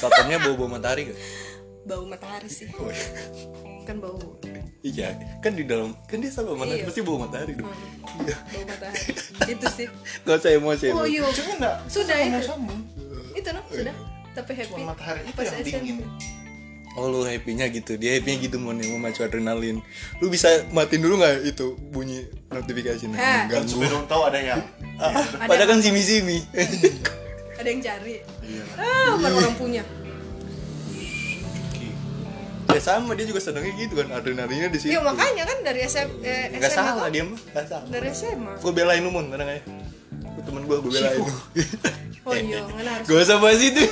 S2: satpamnya bawa bawa matahari gak
S1: bau matahari sih
S2: oh, iya.
S1: kan bau
S2: iya kan di dalam kan dia sama matahari
S1: Iya.
S2: pasti bawa matahari dong iya
S1: bau matahari itu sih
S2: nggak usah emosi
S1: oh
S2: emosi.
S1: iya
S3: Cuma enggak,
S1: Sudah,
S3: sama
S1: itu.
S3: sama.
S1: itu no sudah tapi
S3: Cuma
S1: happy
S3: matahari itu
S1: Pas
S3: yang
S1: SM.
S3: dingin.
S2: Oh lu happy-nya gitu, dia happy-nya gitu mau mau macu adrenalin. Lu bisa matiin dulu nggak itu bunyi notifikasi nih?
S1: Hah.
S3: Kan supaya
S2: Ganggu.
S3: orang tahu ada
S2: <laughs>
S3: yang
S2: Ah, Padahal kan simi-simi.
S1: ada yang cari
S3: Iya.
S1: ah orang punya
S2: ya sama dia juga senengnya gitu kan adrenalinnya di situ.
S1: Iya makanya kan dari SM, eh,
S2: Nggak
S1: SMA
S2: salah
S1: tuh-
S2: dia mah, nggak salah.
S1: dari SMA.
S2: Gue belain lu mon, tenang aja. Gua temen gue, gue
S1: <laughs>
S2: belain lu.
S3: eh,
S1: Oh iya, kan harus
S2: Gak usah bahas itu.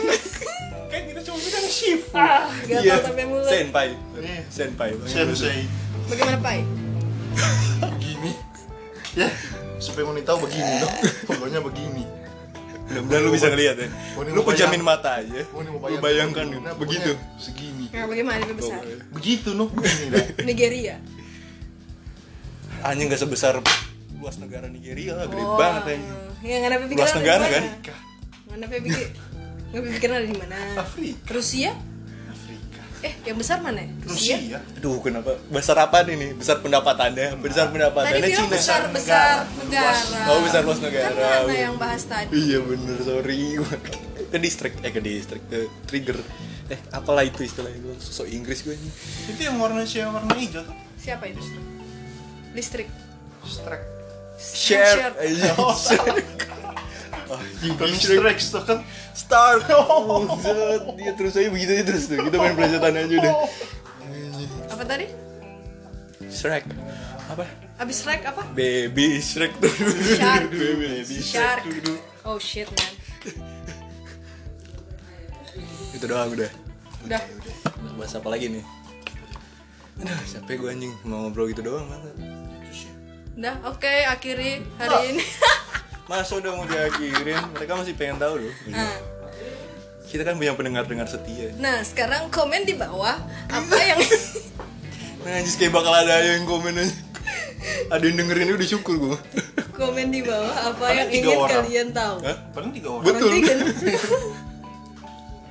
S3: Kan kita cuma bilang shift.
S1: gatal sampai mulut.
S2: Iya. Senpai.
S3: Iya.
S2: Senpai.
S3: Sensei.
S1: Bagaimana Pai?
S3: Begini. <laughs> Ya, supaya wanita tahu begini dong. <laughs> Pokoknya begini.
S2: Mudah-mudahan lu bisa ngeliat ya.
S3: Moni
S2: Lu
S3: mau
S2: pejamin
S3: bayang-
S2: mata aja. Lu bayangkan gitu.
S3: dulu, nah,
S2: begitu. Oh, iya.
S3: pokoknya Segini.
S1: Nah, bagaimana lebih besar?
S3: Begitu noh begini dah.
S1: Nigeria.
S2: Hanya nggak sebesar luas negara Nigeria lah, gede
S1: Oh,
S2: banget aja.
S1: Ya nggak ada pikiran.
S2: Luas negara kan?
S1: Nggak ada pikir. Nggak ada pikiran ada di mana?
S3: Afrika.
S1: Rusia?
S3: Afrika.
S1: Eh, yang besar mana?
S3: Rusia.
S2: Aduh, kenapa? Besar apa ini? Besar pendapatannya, besar
S1: Tadi
S2: pendapatannya
S1: bilang
S2: Cina.
S1: besar
S3: Besar
S1: besar
S3: negara.
S1: negara.
S2: Oh, besar luas
S1: Kan
S2: negara.
S1: mana yang bahas tadi?
S2: Iya bener, sorry. <laughs> ke distrik, eh ke distrik, ke trigger. Eh, apalah itu istilahnya gue sosok Inggris gue ini.
S3: Itu yang warna siapa warna hijau tuh?
S1: Siapa itu? Listrik.
S3: Strike.
S2: Share,
S1: Share. <laughs>
S2: aja.
S3: Oh, salah.
S2: Oh, you
S3: Bukan
S2: big share.
S3: Strike tuh kan.
S2: Start. Buset, Oh, Dia terus aja begitu aja terus tuh. Kita main pelajaran aja udah.
S1: Apa tadi?
S2: Shrek. Apa?
S1: Abis Shrek apa?
S2: Baby Shrek tuh.
S1: Shark.
S2: <laughs> Baby
S1: Shark. Oh shit man.
S2: Itu doang udah.
S1: Udah.
S2: Bahas apa lagi nih? Aduh, capek gue anjing mau ngobrol gitu doang masa.
S1: Udah, oke, akhiri hari
S2: Oh.
S1: ini. <laughs>
S2: Masa udah mau diakhirin, mereka masih pengen tahu loh.
S1: Nah,
S2: Kita kan punya pendengar-pendengar setia.
S1: nah, sekarang komen di bawah
S2: <laughs>
S1: apa yang
S2: Nah, anjing kayak bakal ada yang komen aja. Ada yang dengerin udah syukur gue.
S1: komen di bawah apa
S3: Ada
S1: yang
S3: tiga
S1: ingin
S3: orang.
S1: kalian tahu.
S2: Hah?
S3: <laughs> Paling tiga orang.
S2: Betul.
S1: Nanti kan-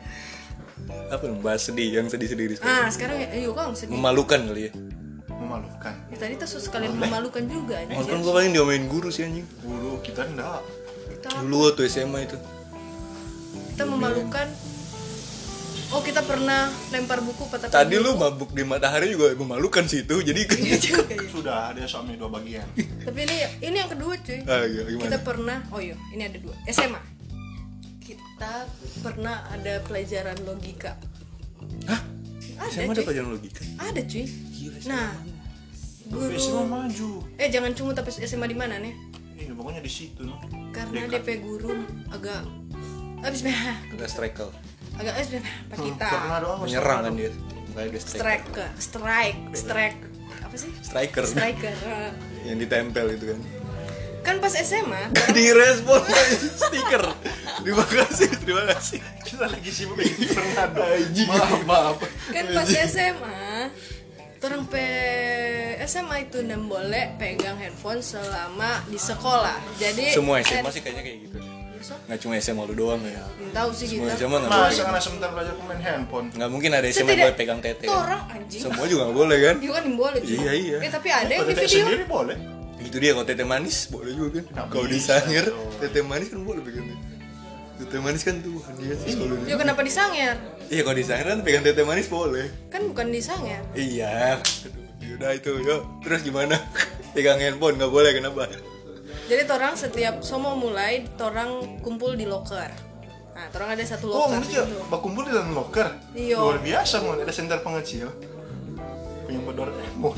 S1: <laughs>
S2: Apa dong? Bahas sedih yang sedih-sedih di sekolah.
S1: Ah, sekarang ya, yuk Kang, sedih.
S2: Memalukan kali ya.
S3: Memalukan.
S1: Ya, tadi tuh sekalian memalukan juga
S2: Oh,
S1: anjir.
S2: kan gue paling diomelin guru sih anjing.
S3: Dulu kita enggak.
S1: Kita,
S2: Dulu waktu SMA itu.
S1: kita memalukan. Oh, kita pernah lempar buku patah
S2: Tadi
S1: <laughs>
S2: lu mabuk di matahari juga memalukan sih itu. Jadi kan.
S1: juga ya.
S3: Sudah ada suami dua bagian.
S1: Tapi ini ini yang kedua, cuy.
S2: Ah, iya, gimana?
S1: kita pernah oh iya ini ada dua SMA kita pernah ada pelajaran logika
S2: Hah?
S1: ada
S2: SMA ada
S1: cuy
S2: pelajaran logika.
S1: ada cuy
S2: Gila, SMA.
S1: nah
S3: Tapi semua
S1: guru
S3: maju.
S1: eh jangan cuma tapi SMA di mana nih
S3: Iya, pokoknya di situ noh.
S1: karena
S3: Dekat.
S1: DP guru agak abis meh
S2: Ada striker.
S1: agak abis meh apa
S2: Hmm,
S1: kita
S3: Karena doa
S2: Menyerang kan dia. Makanya dia striker.
S1: Oh, strike strike strike apa sih
S2: Striker.
S1: striker
S2: <laughs> yang ditempel itu kan <laughs>
S1: kan pas SMA
S2: direspon stiker terima kasih terima kasih
S3: kita lagi sibuk bikin Fernando.
S2: Anjing.
S3: Maaf, maaf.
S1: kan pas SMA orang pe SMA itu nem boleh pegang handphone selama di sekolah jadi eh,
S2: semua SMA sih kayaknya kayak gitu nggak cuma SMA lu doang ya
S1: tahu sih
S2: semua
S1: kita
S2: SMA nggak boleh
S3: Masa karena sebentar belajar main handphone.
S2: nggak mungkin ada SMA
S1: Setidak-
S2: boleh pegang tete
S1: Tuh orang anjing
S2: semua juga nggak boleh kan
S1: dia kan yang boleh cuy.
S2: Iya, iya.
S1: eh, tapi ada yang
S3: Kalau
S1: di
S3: tidak
S1: video
S3: sendiri boleh.
S2: itu dia kalau tete manis boleh juga
S3: Nggak
S2: kan kalau
S3: bisa,
S2: disangir
S3: dong.
S2: tete manis kan boleh pegang tete. tete manis kan tuh dia sih
S1: ya kenapa di Sangir
S2: iya kalau disangir kan pegang tete manis boleh
S1: kan bukan di Sangir
S2: iya Aduh, yaudah itu yuk terus gimana <laughs> pegang handphone nggak boleh kenapa
S1: jadi orang setiap somo mulai orang kumpul di locker nah orang ada satu
S3: Oh,
S1: locker
S3: ini
S2: ya?
S3: aja
S1: gitu.
S3: berkumpul di dalam loker.
S1: Iya.
S3: Luar biasa, mau ada senter pengecil. Punya pedor emo.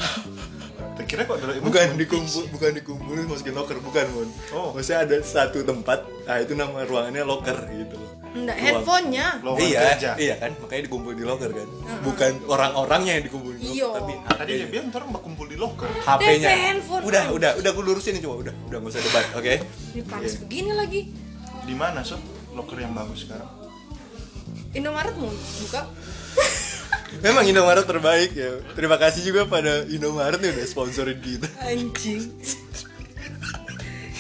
S3: Terkira kok Doraemon
S2: bukan
S3: cuma
S2: dikumpul bukan dikumpulin masukin locker bukan mon oh
S3: Oh.
S2: maksudnya ada satu tempat nah itu nama ruangannya locker gitu loh
S1: enggak
S2: Ruang-
S1: handphonenya
S3: lowongan
S2: iya
S3: kerja.
S2: iya kan makanya dikumpul di locker kan bukan orang-orangnya yang dikumpul di
S1: Iya.
S2: locker tapi
S3: Tadi dia bilang ntar berkumpul di di loker
S2: HP-nya.
S1: Dia handphone.
S2: Udah, udah, udah aku lurusin nih coba, udah. Udah nggak usah debat, oke?
S1: ini
S2: Iya.
S1: panas begini lagi
S3: di mana sob loker yang bagus sekarang
S1: Indomaret mau buka
S2: Memang Indomaret terbaik ya. Terima kasih juga pada Indomaret yang udah sponsorin kita.
S1: anjing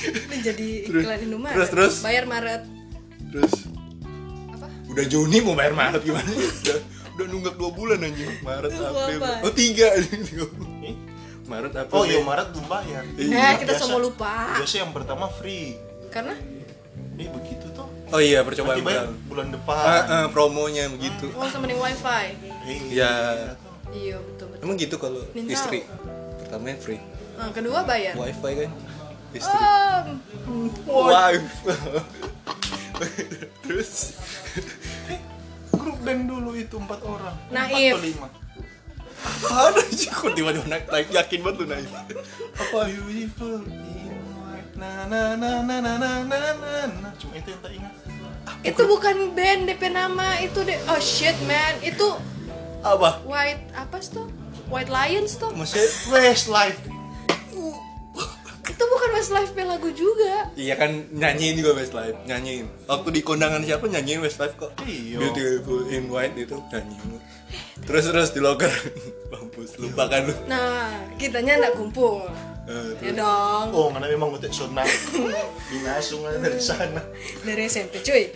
S2: <laughs>
S1: ini jadi
S2: Terus,
S1: iklan Indomaret
S2: terus, terus.
S1: bayar Maret
S2: Terus
S1: apa
S2: udah Juni mau bayar Maret gimana? <laughs> Udah, udah nunggak 2 bulan anjing. Maret,
S1: Nunggu
S2: April.
S1: apa?
S2: Oh, 3 anjing. <laughs> Maret, April.
S3: oh iya
S2: Mei.
S3: Maret belum bayar
S1: nah
S2: Iya,
S1: kita
S3: biasa-
S1: semua lupa
S3: biasa yang pertama free
S1: karena
S3: ini begitu tuh
S2: Oh iya, percobaan
S3: nanti bayar
S2: pertama.
S3: bulan
S2: Ah,
S3: depan Eh,
S2: ah, promonya begitu.
S1: oh sama nih wifi
S2: Ya.
S1: iya betul betul
S2: Emang gitu kalau
S1: Minta.
S2: istri pertamanya free
S1: nah, kedua bayar
S2: wifi kan istri
S1: Om,
S2: wifi <laughs> terus
S3: grup band dulu itu empat orang empat
S1: Naif.
S3: atau lima
S2: ada sih kok tiba-tiba naik naik yakin banget tuh naik
S3: apa beautiful in white na na na na na na na na na cuma itu yang tak ingat
S1: itu bukan band DP nama itu deh oh shit man itu
S2: apa
S1: white apa sih tuh White Lions tuh
S2: maksudnya
S3: Westlife
S1: itu bukan Westlife band lagu juga
S2: Iya kan nyanyiin juga Westlife, nyanyiin. Waktu di kondangan siapa nyanyiin Westlife kok?
S3: Iya.
S2: Beautiful in white itu nyanyiin. Terus terus di locker, <laughs> mampus lupakan lu.
S1: nah kitanya nggak kumpul
S2: Eh,
S1: ya dong
S3: oh karena memang utek sunat dinasung aja dari sana
S1: dari SMP cuy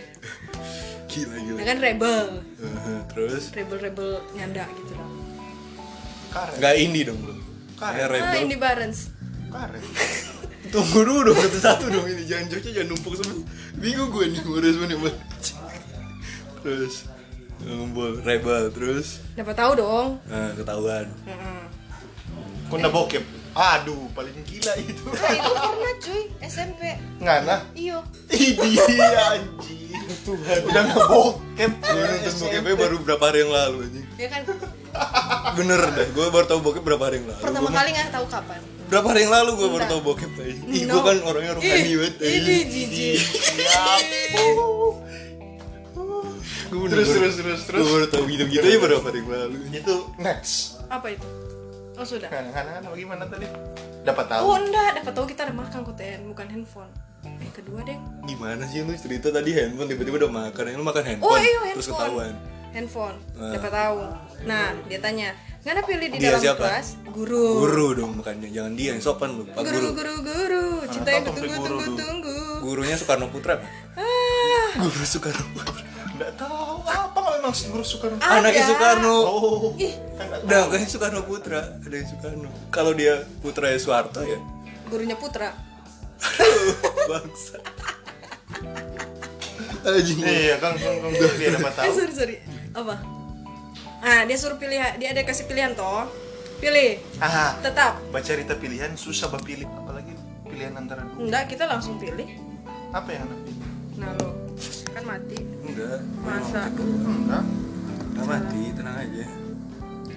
S2: gila gila.
S1: Nah kan rebel
S2: Eh, terus
S1: rebel rebel nyanda gitu lah
S3: karet
S2: nggak indie dong lu. Kayak
S1: ah
S2: rebel.
S1: ini Barnes
S3: karet
S2: Tunggu dulu dong satu-satu dong ini jangan jokesnya jangan numpuk semua. Bingung gue nih ngurus mana Mbak. Terus ngumpul rebel terus
S1: dapat tahu dong
S2: eh, ketahuan.
S1: Heeh.
S3: kunda bokep aduh paling gila itu
S1: Nah, itu pernah cuy SMP
S3: ngana
S1: iyo
S3: Idi anjing Tuhan udah ngebokep
S2: Gue nonton bokepnya ya, baru berapa hari yang lalu anjing.
S1: ya kan
S2: Bener dah, gue baru tau bokep berapa hari yang lalu
S1: pertama
S2: Gua-
S1: kali nggak tahu kapan
S2: Berapa hari yang lalu gue baru
S1: Enggak.
S2: tau bokep tadi Ih,
S1: No.
S2: gue kan orangnya rohani
S1: Ih,
S2: banget
S1: ini jijik
S3: terus terus terus terus
S2: Gue baru tau gitu-gitu aja berapa hari yang lalu
S3: itu next Nah,
S1: apa itu oh sudah
S3: ngana ngana ngana bagaimana tadi dapat tahu
S1: oh enggak dapat tahu kita ada makan kok TN bukan handphone eh kedua deh
S2: Gimana sih lu cerita tadi handphone tiba-tiba udah makan Lu makan handphone,
S1: oh iyo
S2: terus
S1: handphone
S2: ketahuan
S1: handphone
S2: Ah.
S1: dapat tahu nah dia tanya nggak ada pilih di
S2: Dia
S1: dalam
S2: siapa?
S1: kelas guru
S2: Guru dong makannya, jangan dia yang sopan lu Pak
S1: guru
S2: Guru
S1: guru guru cinta yang
S3: tahu sampai
S1: tunggu
S3: guru
S1: tunggu
S3: dulu.
S1: tunggu
S2: Gurunya Soekarno Putra Pak.
S1: ah
S2: Guru <laughs> Soekarno Putra
S3: nggak tahu apa nggak memang guru suka
S1: Ada.
S2: Anaknya Soekarno
S3: oh
S1: Ih.
S3: kan nggak tahu.
S2: Udah, kayaknya Soekarno Putra Ada yang Soekarno Kalau dia Putra ya Soeharto ya <laughs>
S1: gurunya putra
S2: Bangsa Anjing
S3: iya kan kan kan dia dapat
S1: eh
S3: tahu
S1: sorry sorry apa ah dia suruh pilih dia ada kasih pilihan toh pilih
S3: ah
S1: tetap
S3: baca cerita pilihan susah bah pilih apalagi pilihan antara dua
S1: enggak kita langsung pilih
S3: apa yang anak pilih
S1: nah lo kan mati
S2: Enggak
S1: masa
S3: enggak
S2: Enggak mati, tenang aja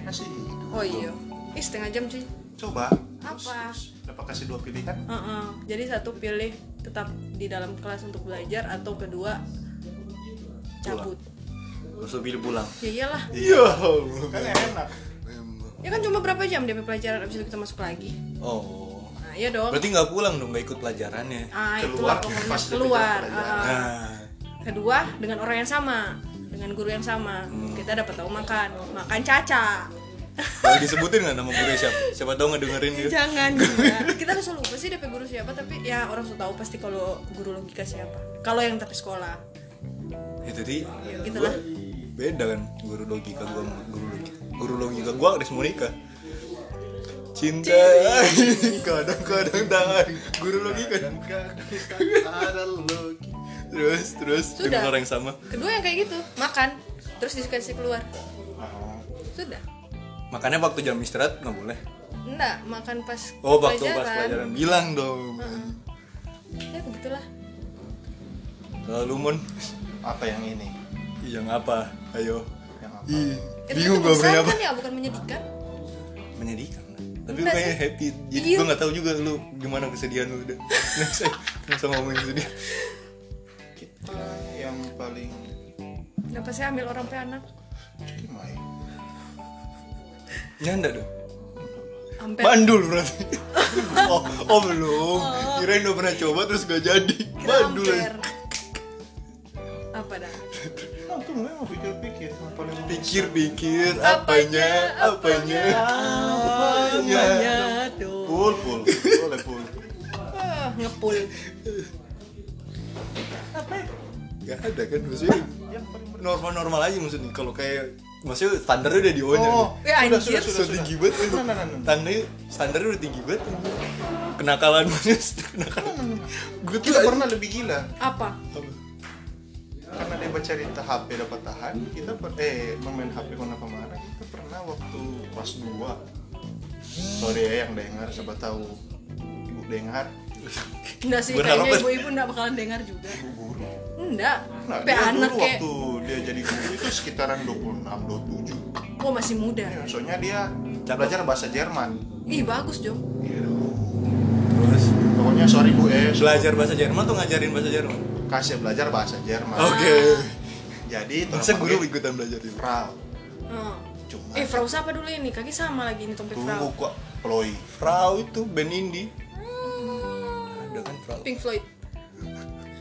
S3: masih hidup
S1: oh iya Ih, setengah jam cuy
S3: coba terus,
S1: Apa?
S3: terus. dapat kasih dua pilihan
S1: Heeh. Jadi satu pilih tetap di dalam kelas untuk belajar atau kedua cabut.
S2: Terus lu pilih pulang
S1: Ya iyalah.
S2: Iya
S3: kan enak
S1: Ya kan cuma berapa jam DP pelajaran abis itu kita masuk lagi.
S2: Oh
S1: Nah, iya dong.
S2: Berarti nggak pulang dong, nggak ikut pelajarannya
S1: Ah,
S3: Keluar,
S1: itulah pokoknya
S3: pas DP
S1: keluar.
S3: pelajaran.
S1: Ah, ah.
S2: Nah
S1: kedua dengan orang yang sama, dengan guru yang sama.
S2: Hmm.
S1: Kita dapat tahu makan, makan caca. <laughs>
S2: Boleh disebutin nggak nama guru siapa? Siapa tau ngedengerin dia <laughs>
S1: Jangan gila. Kita udah lupa sih DP guru siapa, tapi ya orang sudah tahu pasti kalau guru logika siapa. Kalau yang tapi sekolah.
S2: Ya tadi
S1: Ya, gitu
S2: gua
S1: lah.
S2: Beda kan guru logika gua sama guru logika Guru logika gua Agnes Monica Cinta Kadang-kadang tangan Guru logika
S3: ada logika
S2: Terus, terus
S1: Sudah.
S2: Dengan orang yang sama
S1: Kedua yang kayak gitu, makan, terus dikasih keluar.
S2: Oh.
S1: Sudah.
S2: Makanya waktu jam istirahat nggak boleh
S1: Enggak, makan pas
S2: Oh waktu pas pelajaran bilang dong
S1: Ya begitulah.
S2: Lalu mon
S3: apa yang ini
S2: Yang apa? Ayo
S3: yang apa
S2: Ih,
S1: Itu
S2: Bingung
S1: kan
S2: gue beli
S1: menyesal
S2: apa
S1: kan ya, bukan menyedihkan.
S2: Menyedihkan Tapi gue
S1: Enggak
S2: kayaknya
S1: sih.
S2: happy Jadi
S1: Iya.
S2: gue gak tahu juga lu gimana kesedihan lu udah Next ayo. <laughs> Nggak usah ngomongin sedih
S3: kita yang paling
S1: Kenapa saya ambil orang pe anak?
S3: gimana ya?
S2: Nyanda dong
S1: Ampe
S2: Bandul <laughs> berarti. oh, oh belum. Kirain udah pernah coba terus gak jadi. Bandul.
S1: Amper. Apa dah?
S3: Nah, tuh mulai mau pikir-pikir apa yang mau-
S2: Pikir-pikir apanya, apanya, apanya.
S3: Pul, pul, boleh pul.
S1: Ah, ngepul. Apa?
S2: Gak ada kan maksudnya normal-normal aja maksudnya kalau kayak maksudnya standarnya udah di on
S3: Oh,
S1: Eh,
S3: sudah,
S1: anjir.
S3: sudah, sudah, sudah.
S2: tinggi banget
S3: Nah, nah, nah, nah.
S2: standarnya standarnya udah tinggi banget kenakalan maksudnya kenakalan gue tuh
S3: Kita pernah lebih gila
S1: Apa?
S3: karena dia baca cerita HP dapat tahan kita per eh memain HP kemana kemana kita pernah waktu pas dua sorry ya yang dengar siapa tahu ibu dengar
S1: Enggak sih,
S2: Berharap
S1: kayaknya
S2: kan?
S1: ibu-ibu enggak bakalan dengar juga.
S3: ibu guru
S1: Enggak.
S3: nah
S1: Sampai
S3: dia
S1: anak
S3: dulu
S1: kayak,
S3: waktu dia jadi guru itu sekitaran 26 27
S1: oh masih muda.
S3: ya, soalnya dia
S2: Cakep.
S3: belajar bahasa Jerman
S1: Ih, bagus, Jom.
S3: Iya.
S2: terus
S3: pokoknya sorry bu eh
S2: belajar bahasa Jerman tuh ngajarin bahasa Jerman
S3: kasih belajar bahasa Jerman
S2: oke
S3: jadi
S2: masa
S3: terpakai
S2: guru ikutan belajar ini
S3: Frau
S1: Heeh.
S3: cuma
S1: Eh, Frau siapa dulu ini? Kaki sama lagi ini Tompi
S3: tunggu
S1: Frau.
S3: kok Ploy
S2: Frau itu band indie ada kan Frau
S1: Pink Floyd.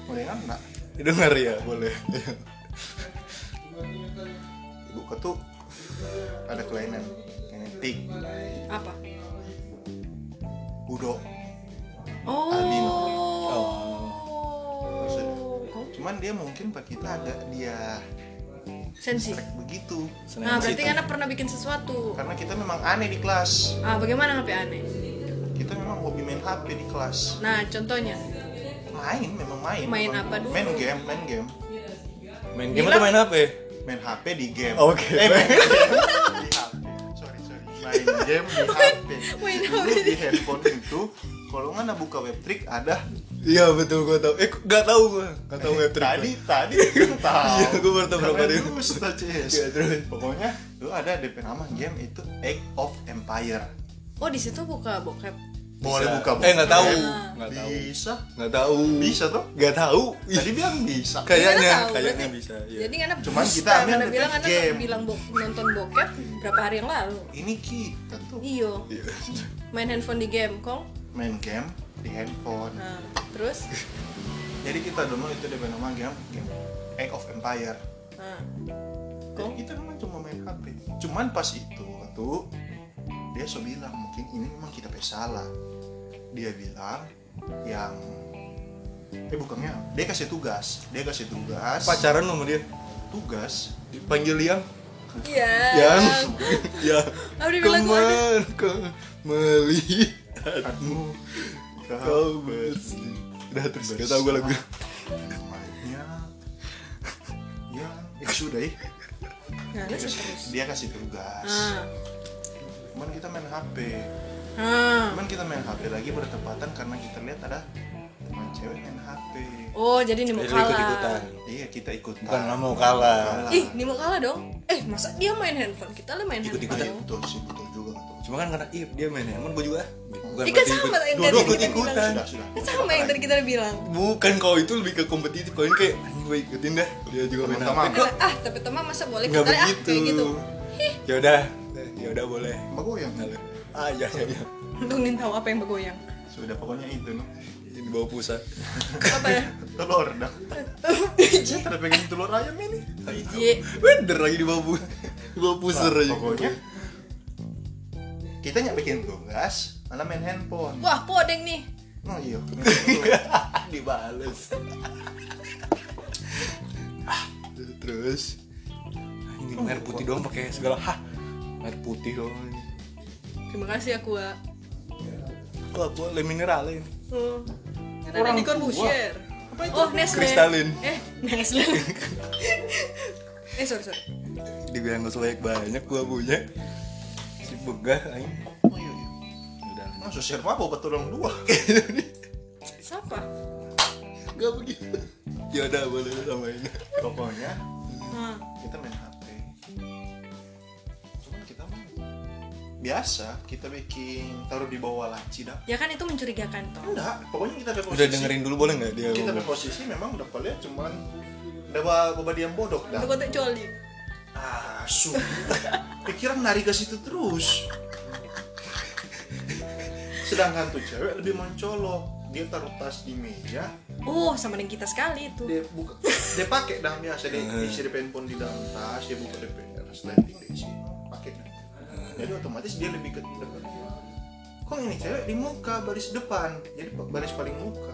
S3: boleh nggak
S2: dengar ya boleh
S3: ibu ketuk ada kelainan yang tik
S1: Apa?
S3: budok
S1: Oh.
S3: Albino.
S1: Oh.
S3: cuman dia mungkin pak kita agak dia
S1: Sensi.
S3: strek begitu
S1: Nah, berarti
S3: kan
S2: Senang
S1: karena pernah bikin sesuatu.
S3: karena kita memang aneh di kelas
S1: Ah, bagaimana HP aneh?
S3: kita memang hobi main HP di kelas
S1: Nah, contohnya.
S3: main memang main
S1: Main
S3: Memang-
S1: apa dulu?
S3: main game main game
S2: sih. main game atau main HP
S3: main HP di game
S2: Oke.
S3: eh, main game di HP sorry sorry main game di HP
S1: main
S3: dulu
S1: HP
S3: di handphone itu kalau nggak buka webtrick ada
S2: <laughs> iya betul gue tau eh gak tau gue gak tau web trick
S3: tadi
S2: <laughs>
S3: tadi kan tahu
S2: Iya, gua baru tahu berapa
S3: Keren
S2: dia.
S3: lu, Ustaz CS.
S2: Iya, terus.
S3: pokoknya lu ada DP nama game itu Egg of Empire
S1: Oh, di situ buka bokep.
S3: boleh
S2: Bisa.
S3: buka
S2: Eh, nggak tahu. Nggak tahu.
S3: bisa
S2: gak tau
S3: bisa tuh
S2: gak tau
S3: <laughs> tadi bilang bisa
S1: Karena
S2: kayaknya
S1: tahu,
S2: kayaknya
S1: berarti.
S2: bisa iya.
S1: Jadi karena
S3: Cuman
S1: bisa,
S3: kita ambil
S1: karena
S3: dari
S1: bilang karena
S3: game.
S1: bilang bok- nonton bokep berapa hari yang lalu.
S3: ini kita tuh
S1: Iyo,
S2: Iya. <laughs>
S1: main handphone di game, Kong.
S3: main game di handphone
S1: Nah, terus
S3: jadi kita dulu itu DP nama game game Egg of Empire
S1: nah,
S3: Jadi kita memang cuma main HP cuman pas itu tuh dia so bilang mungkin ini memang kita punya salah dia bilang yang eh bukannya dia kasih tugas dia kasih tugas
S2: pacaran sama dia
S3: tugas
S2: dipanggil yang
S1: Iya.
S2: <laughs> yang ya
S1: Apa dia bilang gua ada?
S2: kemar ke- melihatmu kau
S3: kau
S2: bersih udah terus gak tau gue lagu
S3: namanya ya eh, sudah ya
S1: Nah,
S3: dia
S1: terus
S3: kasih,
S1: terus.
S3: dia kasih tugas
S1: Ah.
S3: cuman kita main HP
S1: Ah.
S3: cuman kita main HP lagi bertepatan karena kita lihat ada teman cewek main HP
S1: Oh, jadi Nimo
S2: Jadi
S1: kalah.
S2: ikut-ikutan.
S3: iya kita ikutan
S2: Eh, bukan nggak mau kalah
S1: Ih, Nimo kalah dong. Eh, masa dia main handphone? Kita lah main
S2: Ikut-ikutan.
S1: handphone.
S3: Iya, betul sih betul juga betul
S2: cuma kan karena ih dia main Hemon gue juga ah. bukan
S1: Ih, kan
S2: berarti
S1: sama
S2: ikut-
S1: yang
S2: dua-dua
S1: tadi
S2: ikut
S1: kita
S2: ikutan
S3: sudah sudah
S1: Kan sama yang tadi kita bilang.
S2: bukan kau itu lebih ke kompetitif kau ini kayak anjing gue ikutin dah dia juga main HP
S3: Teman-teman.
S2: kok
S1: Karena, ah, tapi teman masa boleh
S2: nggak
S1: kita ah
S2: begitu
S1: kayak gitu.
S2: ya udah ya udah boleh
S3: Sama gue yang
S2: Boleh. ah ya ya ya
S1: Tungguin tahu apa yang
S2: <laughs>
S1: bergoyang.
S3: sudah pokoknya itu no.
S2: ini bawa pusat
S1: Apa ya? <laughs>
S3: telur dah saya pada pengen telur ayam ini
S1: Jijik.
S2: bener lagi di bawah pu- di bawah pusar
S3: Nah,
S2: aja
S3: pokoknya kita nyak bikin tugas malah main handphone
S1: Wah, podeng nih.
S3: oh iya
S2: <laughs> dibales Ah, terus Ah, ini minum air putih doang pakai segala hah air putih doang
S1: Terima kasih aku, Wak.
S2: kalau gua le mineral ini
S1: Hmm. Kan ada di Corbusier.
S3: Apa itu?
S1: Oh, Nestle.
S2: Kristalin.
S1: Eh, <laughs> Nestle. eh, sorry, sorry.
S2: dibilang gak selek banyak gua punya si begah aing
S3: oh iya iya
S2: udah
S3: masuk serpa bawa tolong dua
S1: Siapa?
S2: nggak begitu ya udah boleh sama ini
S3: pokoknya
S1: Nah,
S3: kita main HP cuman kita mau biasa kita bikin taruh di bawah laci dah
S1: ya kan itu mencurigakan toh.
S3: enggak pokoknya kita ada
S2: udah
S3: posisi.
S2: dengerin dulu boleh nggak dia
S3: Oh, kita di
S2: ngomong?
S3: posisi memang udah lihat cuman udah boba diam bodoh
S1: Itu
S3: dah Ah,
S1: kota coli.
S3: asu pikiran lari ke situ terus sedangkan tuh cewek lebih mencolok dia taruh tas di meja
S1: oh sama dengan kita sekali itu
S3: dia buka dia pakai dah biasa dia
S2: Hmm.
S3: isi handphone di dalam tas dia buka DPR selain di isi pakai dah. jadi otomatis dia lebih ke depan kok ini cewek di muka baris depan jadi baris paling muka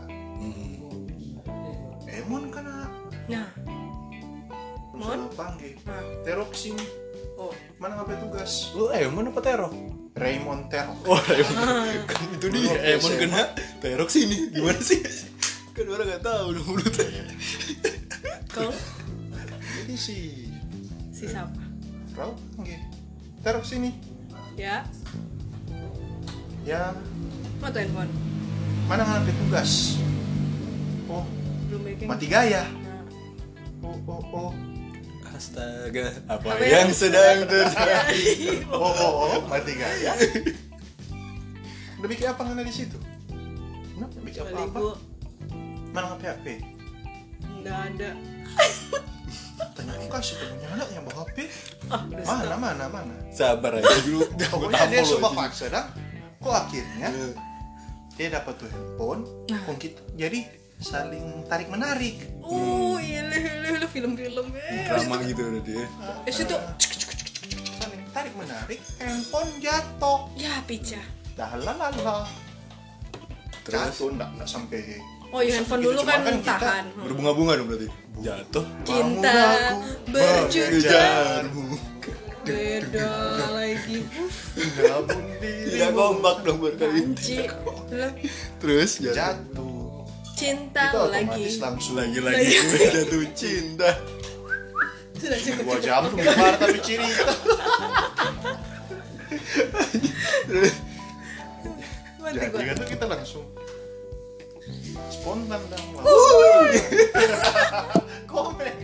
S3: emon kan
S1: nah Mon?
S3: mau panggil
S1: nah
S3: teroksin
S1: oh
S3: mana ngapain tugas
S2: Lu Emon apa Terok?
S3: Raymond Terok
S2: Oh Emon Kan <laughs> itu
S3: Lu
S2: dia Emon
S3: SMA.
S2: kena Terok sini Gimana sih? <laughs> Kan orang gak tau dong mulutnya
S1: <laughs> kau
S3: jadi si
S1: si siapa
S3: Raul panggil Terok sini
S1: ya
S3: ya
S1: mau tuh handphone
S3: mana ngambil tugas oh
S1: belum bikin
S3: mati gaya
S2: <laughs>
S1: Nah.
S3: oh oh oh
S2: Astaga Apa,
S1: Apa
S2: yang
S1: yang
S2: sedang terjadi?
S3: oh oh oh mati
S2: ya?
S3: <laughs> gaya udah bikin apa nggak ada di situ kenapa bikin apa
S1: Kecuali
S3: apa
S1: gua
S3: mana nggak HP
S1: nggak ada
S3: tanya kok sih punya anaknya bawa HP
S1: ah udah
S3: mana
S1: stop
S3: mana mana
S2: Sabar aja
S3: <laughs>
S2: dulu Gua
S3: pokoknya dia
S2: tampol
S3: coba
S2: aja.
S3: paksa dah kok akhirnya
S2: Eh,
S3: dia dapat tuh handphone
S1: Nah.
S3: kok kita jadi saling tarik menarik
S1: uh ilu ilu ilu film-film eh
S2: Drama gitu udah dia
S1: Eh, situ
S3: saling tarik menarik handphone jatuh
S1: ya pizza
S3: dah lalala
S2: Terus
S3: jatuh nggak nggak sampai
S1: oh ya handphone
S3: Gitu,
S1: dulu
S3: cuma
S1: kan
S3: kan kita-
S1: tahan Hmm.
S2: Berbunga-bunga dong berarti Jatuh
S1: cinta
S3: Bangun aku,
S1: berjuta
S2: Kejarmu
S1: beda
S3: kan
S1: lagi
S3: gabung diri
S2: Tidak kompak dong berkali ini
S1: Ci, lah,
S2: Terus jatuh
S3: jatuh
S1: cinta
S3: itu
S1: lagi
S3: otomatis langsung
S2: Lagi-lagi gue <laughs> jatuh cinta
S1: sudah cukup
S3: dua jam keluar tapi ciri
S1: mati
S3: jadi
S1: gua
S3: kan tuh kita langsung spontan dong <laughs> komeng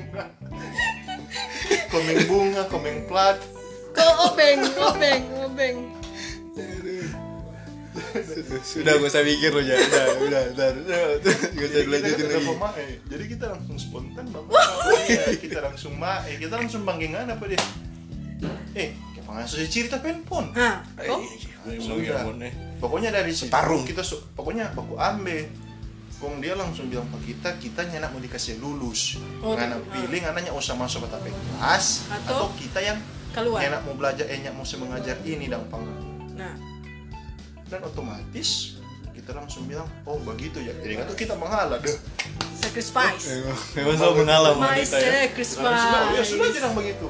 S3: komeng bunga komeng plat
S1: kok obeng obeng obeng
S2: Sudah gak usah mikir lo ya Udah, udah, udah, udah Gak usah
S3: jadi kita
S2: dilanjutin
S3: kan udah
S2: lagi
S3: mau mae. jadi kita langsung spontan bapak kita langsung mae kita langsung banggengan apa dia eh kayak pengasuh cerita penpon
S1: nah kok
S3: Sudah. Pokoknya dari situ
S2: Setarung.
S3: kita su- pokoknya aku ambil. Kong dia langsung bilang ke kita, kita nyenak mau dikasih lulus.
S1: Oh,
S3: Karena
S1: ah.
S3: pilih oh, anaknya usah masuk ke tapi kelas atau,
S1: Atau
S3: kita yang
S1: keluar
S3: nyenak mau belajar eh nyenak mau semengajar ini dan pangan.
S1: nah
S3: Dan otomatis kita langsung bilang, "Oh, begitu ya." Jadi kan tuh kita mengalah deh. Eh,
S1: sacrifice
S2: Memang selalu mengalah
S1: my
S2: wanita ya
S3: Nah, sudah, oh, ya
S1: sacrifice
S3: sudah jangan begitu.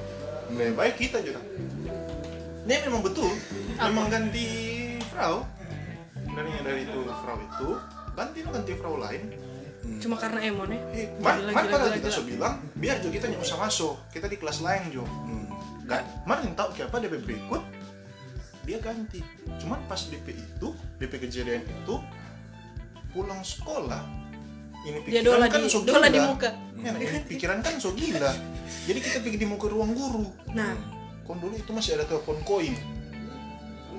S3: Lebih baik kita juga. Ini memang betul, memang ganti Frau. Dari dari itu Frau itu ganti no ganti Frau lain
S1: cuma karena emon ya
S3: Eh, Man,
S1: Gila,
S3: man
S1: gila,
S3: pada
S1: gila,
S3: kita
S1: gila.
S3: so bilang, biar Jo kita nggak usah masuk, kita di kelas lain Jo.
S2: Hmm.
S3: Gak, man yang tahu siapa DP berikut, dia ganti. Cuman pas DP itu, DP kejadian itu, pulang sekolah, ini
S1: dia
S3: pikiran
S1: dola
S3: kan
S1: di
S3: so
S1: dola di
S3: gila.
S1: muka
S3: Ya, nah, ini pikiran kan so gila. Jadi kita pergi di muka ruang guru.
S1: nah
S3: Kon dulu itu masih ada telepon koin.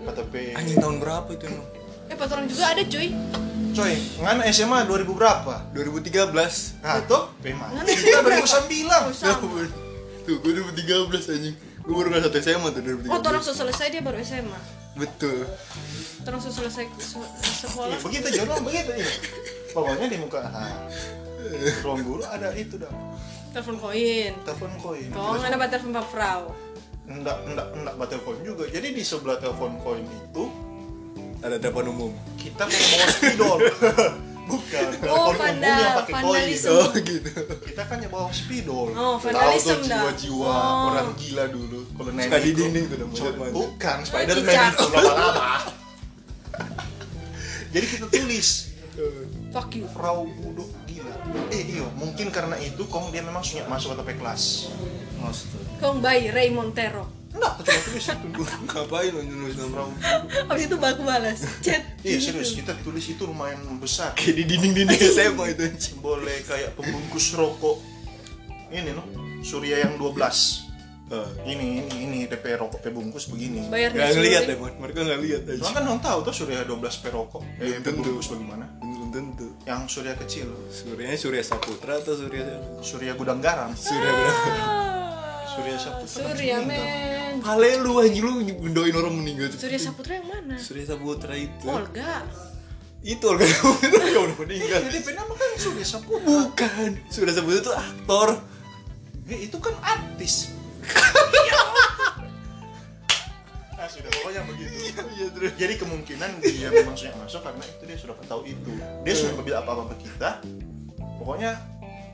S3: Kata P.
S2: Anjing tahun berapa itu emang?
S1: eh patoran juga ada cuy
S3: Coy, ngana SMA 2000 berapa?
S2: 2013
S3: Nah, tuh, P
S1: Ngana
S3: mati. Kita 2009.
S1: Sama.
S2: <laughs> Tuh gue 2013 anjing Gue baru kelas 1 SMA tuh
S1: oh tuh
S2: 2013
S1: langsung selesai dia baru SMA
S2: Betul
S1: Tuh langsung selesai se-
S3: Iya
S1: sekolah
S3: begitu jodoh begitu iya. Pokoknya di muka ah, ruang guru ada itu dah
S1: telepon koin
S3: telepon koin.
S1: kok Oh, nggak dapat telepon pak Frau
S3: Enggak enggak enggak buat telepon juga. Jadi di sebelah telepon koin itu
S2: Ada telepon umum
S3: kita mau bawa spidol. <laughs> Bukan telepon umum
S1: vandal-
S3: yang pakai koin.
S1: Oh, vandalisme.
S2: Oh gitu
S3: Kita kan yang bawa spidol.
S1: Oh,
S3: Tahu tuh
S1: vandalisme dah.
S3: jiwa-jiwa
S1: Oh.
S3: orang gila dulu. Kalau nenek
S2: Suka di
S3: itu-
S2: dinding tuh dah,
S3: Coy,
S2: manjat-manjat.
S3: Bukan
S1: Oh,
S3: Spiderman
S1: cicak.
S3: itu lama-lama. <laughs> Jadi kita tulis
S1: fuck you
S3: Frau budok gila. Eh iyo, mungkin karena itu kong dia memang sunya masuk ke tepi kelas.
S2: Astaga
S1: kong bye Ray Montero <laughs>
S3: Enggak, cuma tulis itu dulu.
S2: Ngapain lu nulis nomor
S3: Frau budok.
S1: habis itu baru aku balas chat
S3: Iya serius, kita tulis itu lumayan besar.
S2: <laughs> Kayak di dinding-dinding SMA itu anjing
S3: Boleh kayak pembungkus rokok. Ini no, Surya yang 12. Ini ini ini DP rokok pembungkus begini.
S1: bayar
S2: Gak
S1: nasi
S2: ngeliat ya,
S1: goreng.
S2: Mon. mereka gak ngeliat aja.
S3: Soalnya kan orang tahu tuh Surya 12 perokok. Eh,
S2: Belum tentu.
S3: pembungkus bagaimana?
S2: Belum tentu.
S3: Yang Surya kecil,
S2: Suryanya Surya Saputra atau Surya
S3: Surya gudang
S2: <laughs>
S3: garam.
S2: Surya berapa?
S1: Ah.
S3: Surya Saputra
S1: Surya
S3: langsung meninggal.
S1: men
S2: Pale lu anjing lu ngedoain orang meninggal
S1: Surya Saputra yang mana
S2: Surya Saputra itu
S1: Olga
S2: itu <laughs> orang yang udah meninggal
S3: Jadi band kan Surya Saputra.
S2: bukan Surya Saputra itu aktor
S3: Eh, itu kan <laughs> artis. nah, sudah pokoknya begitu.
S2: iya terus
S3: Jadi kemungkinan dia memang sudah masuk karena itu dia sudah tahu itu. Dia sudah mobil apa-apa ke kita. Pokoknya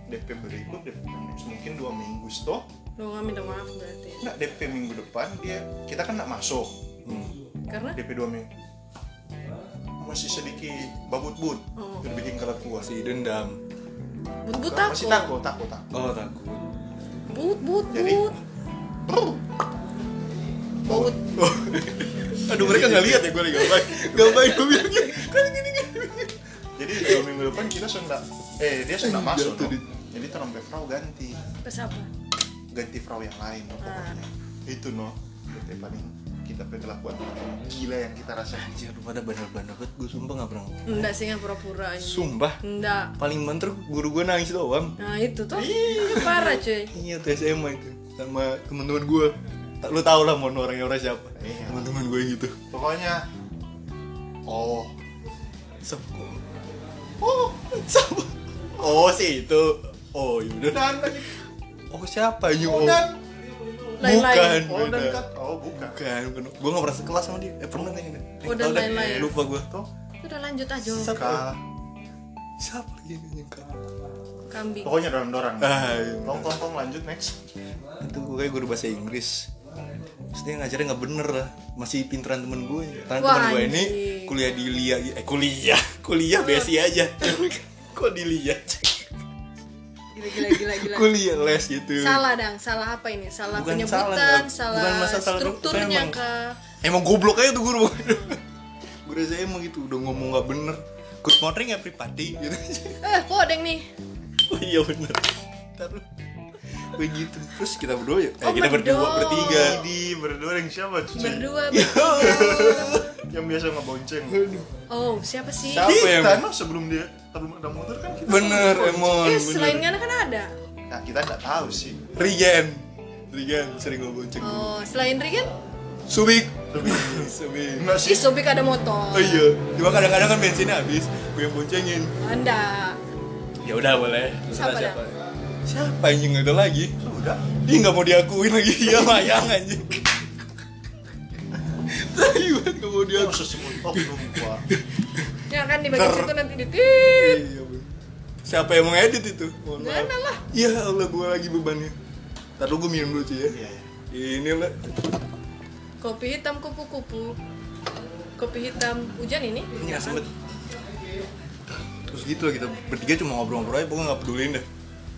S3: DP berikut, DP next mungkin dua minggu setelah
S1: Lu nggak minta maaf berarti
S3: Nah, DP minggu depan dia kita kan nggak masuk.
S2: Hmm,
S1: Karena
S3: DP dua minggu masih sedikit babut-but
S1: Oh.
S3: itu bikin kelat gua
S2: si dendam
S1: but-but
S3: masih
S1: takut
S3: takut takut takut
S2: oh takut
S1: But but
S3: Jadi-
S1: but But
S2: aduh mereka nggak lihat ya gue gambar gambar gue bilangnya kan gini gini
S3: jadi dua minggu depan kita sudah eh dia sudah
S2: Anjing,
S3: masuk
S2: jatuh
S3: dong.
S2: di-
S3: jadi terompet frau ganti
S1: Terus apa?
S3: ganti frau yang lain no,
S2: Ah.
S3: pokoknya itu no itu paling kita perlakuan gila yang kita rasain
S2: anjir lu pada bandel-bandel banget gue sumpah nggak pernah
S1: Enggak sih nggak pura-pura aja
S2: sumpah
S1: Enggak
S2: paling manter guru gue nangis doang
S1: Nah itu tuh parah cuy
S2: Iya tuh SMA itu sama teman-teman gue. Ta- Lu tau lah mau orangnya orang siapa? Eh,
S3: Iya.
S2: Teman-teman gue yang gitu.
S3: pokoknya oh
S2: Sob. Oh, siapa? Oh si itu. Oh yaudah.
S3: dan lagi
S2: Oh siapa Yu?
S3: oh
S2: Oh,
S3: dan
S2: bukan.
S1: Lain-lain
S3: oh dan
S2: beda.
S3: kan oh bukan
S2: Bukan, bukan. Gue gak pernah sekelas sama dia. Eh pernah kayaknya.
S1: Oh, dan lain-lain.
S2: Lupa gue.
S3: toh
S1: Udah lanjut aja
S2: Siapa?
S3: Kak.
S2: Siapa lagi yang nyengkal?
S1: Kambing
S3: pokoknya dorong-dorong
S2: Ah, iya.
S3: tong tong tong lanjut next
S2: itu gue kayak guru bahasa Inggris terus dia ngajarnya nggak bener lah masih pinteran temen gue karena
S1: Wah,
S2: temen gue ini
S1: anjing.
S2: kuliah di LIA eh kuliah kuliah besi aja <laughs> kok di LIA
S1: Gila gila gila gila
S2: kuliah les gitu
S1: Salah dang, salah apa ini? Salah
S2: Bukan
S1: penyebutan,
S2: salah, nggak-
S1: salah,
S2: bukan masalah salah
S1: strukturnya
S2: emang.
S1: ke
S2: emang goblok aja tuh guru <laughs> guru saya emang gitu udah ngomong nggak bener good morning everybody gitu
S1: Eh, kodeng nih
S2: <laughs> oh iya bener taruh begitu terus kita berdua ya eh,
S1: Oh,
S2: kita berdua
S1: berdua. <laughs>
S2: bertiga
S3: di berdua yang siapa cuy
S1: Berdua
S2: Iya.
S3: yang biasa ngebonceng <laughs>
S1: Oh, siapa sih?
S3: siapa
S2: Kita
S3: yang
S2: emang.
S3: no, sebelum dia sebelum ada motor kan kita
S2: bener emon
S1: Eh,
S2: bener
S1: selain Ngana kan ada
S3: nah kita nggak tahu sih
S2: Rigen Rigen sering gue bonceng
S1: Oh, selain Rigen
S2: Subik <laughs> Subik
S3: enggak
S1: Ih,
S3: sih
S1: Sobik ada motor
S2: Oh iya Cuma kadang-kadang kan bensinnya habis Gue yang boncengin
S1: Anda
S2: Ya udah boleh
S1: Siapa
S2: Terserah
S1: dah?
S2: Siapa anjing nggak ada lagi
S3: udah
S2: Ih nggak mau diakuin lagi <laughs> Iya mayang anjing Tai banget nggak mau
S3: dia
S2: diakuin
S3: harus sebut oknum gua
S1: Ya kan di bagian
S2: Ter-
S1: situ nanti ditit
S2: Iya, bener. Siapa yang mau edit itu? Mohon maaf.
S1: Ngana lah
S2: Ya Allah gue lagi bebannya Ntar lu gue minum dulu cuy ya
S3: iya iya.
S2: Ini lah
S1: Kopi hitam kupu-kupu Kopi hitam hujan ini
S2: Ini asem banget. Terus gitu lah kita bertiga cuma ngobrol-ngobrol aja pokoknya gak peduliin deh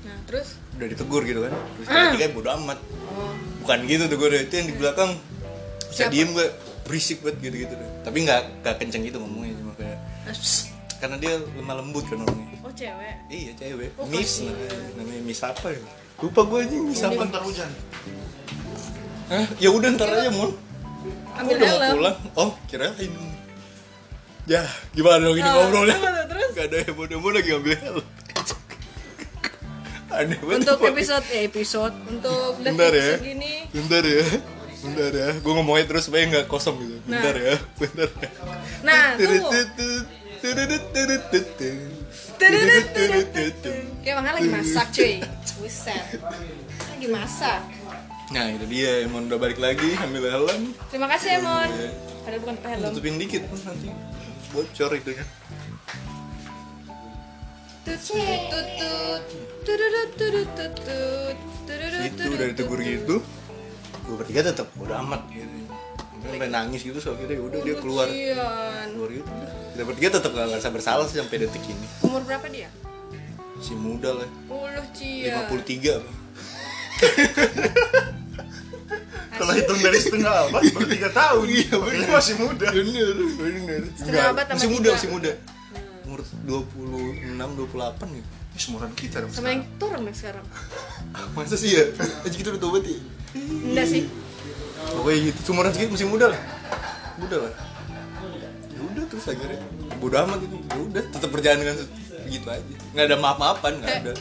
S1: Nah, terus
S2: Udah ditegur gitu kan Terus kita bertiga bodo amat
S1: Oh,
S2: Bukan gitu tuh gue deh, itu yang di belakang Bisa
S1: Siapa?
S2: diem gue berisik banget gitu-gitu deh Tapi gak, gak kenceng gitu ngomongnya cuma kayak
S1: nah, psst.
S2: Karena dia lemah lembut kan orangnya
S1: Oh, cewek
S2: Iya cewek,
S1: Oh,
S2: Miss
S1: kasihan.
S2: namanya Namanya Miss apa ya? Lupa gue aja Miss
S3: Siapa
S2: apa
S3: ntar hujan
S2: Hah? Ya udah ntar aja mon
S1: Ambil
S2: Udah mau
S1: helm.
S2: pulang Oh kirain Ya gimana dong ini
S1: Ah,
S2: ngobrolnya
S1: gimana terus?
S2: Gak ada yang bodoh-bodoh lagi ngambil helm <laughs> Aneh banget
S1: Untuk
S2: Pak.
S1: episode eh, episode Untuk
S2: <laughs> Bentar ya.
S1: detik segini
S2: Bentar ya Bentar ya Gue ngomongnya terus supaya nggak kosong gitu Bentar
S1: Nah.
S2: ya Bentar ya
S1: Nah, tunggu
S2: Tudututut, tudutututututut. Tudutututututut.
S1: Kayak Bang Al lagi masak cuy Buset Lagi masak
S2: Nah itu dia Emon udah balik lagi Ambil helm
S1: Terima kasih Emon Padahal bukan helm
S2: Tutupin dikit nanti Bocor ya. itunya
S1: Tut tut tut Tududut, tudut, tut tut Tududut,
S2: Itu
S1: tudut,
S2: dari tegur
S1: tut, tut.
S2: gitu Gue bertiga tetep bodo amat gitu Sampai nangis gitu soalnya dia udah dia keluar
S1: Kesian.
S2: keluar gitu udah. kita bertiga tetap gak ngerasa bersalah sih sampai detik ini
S1: Umur berapa dia?
S2: si muda lah
S1: Uluh
S2: Iya.
S1: cia
S2: 53 apa?
S3: kalau hitung dari setengah abad baru tiga tahun
S2: Iya, bener.
S3: Ini masih muda
S2: bener bener
S1: Setengah abad tambah
S2: masih muda
S1: tiga.
S2: masih muda umur 26 28 ya
S3: ini semuran kita dong
S1: Sama yang turun dong sekarang
S2: masa sih ya <laughs> aja kita udah tobat ya
S1: Enggak sih
S2: pokoknya gitu sumuran segitu masih muda lah muda lah ya udah terus akhirnya bodo amat gitu ya udah tetap berjalan dengan begitu aja nggak ada maaf maafan nggak ada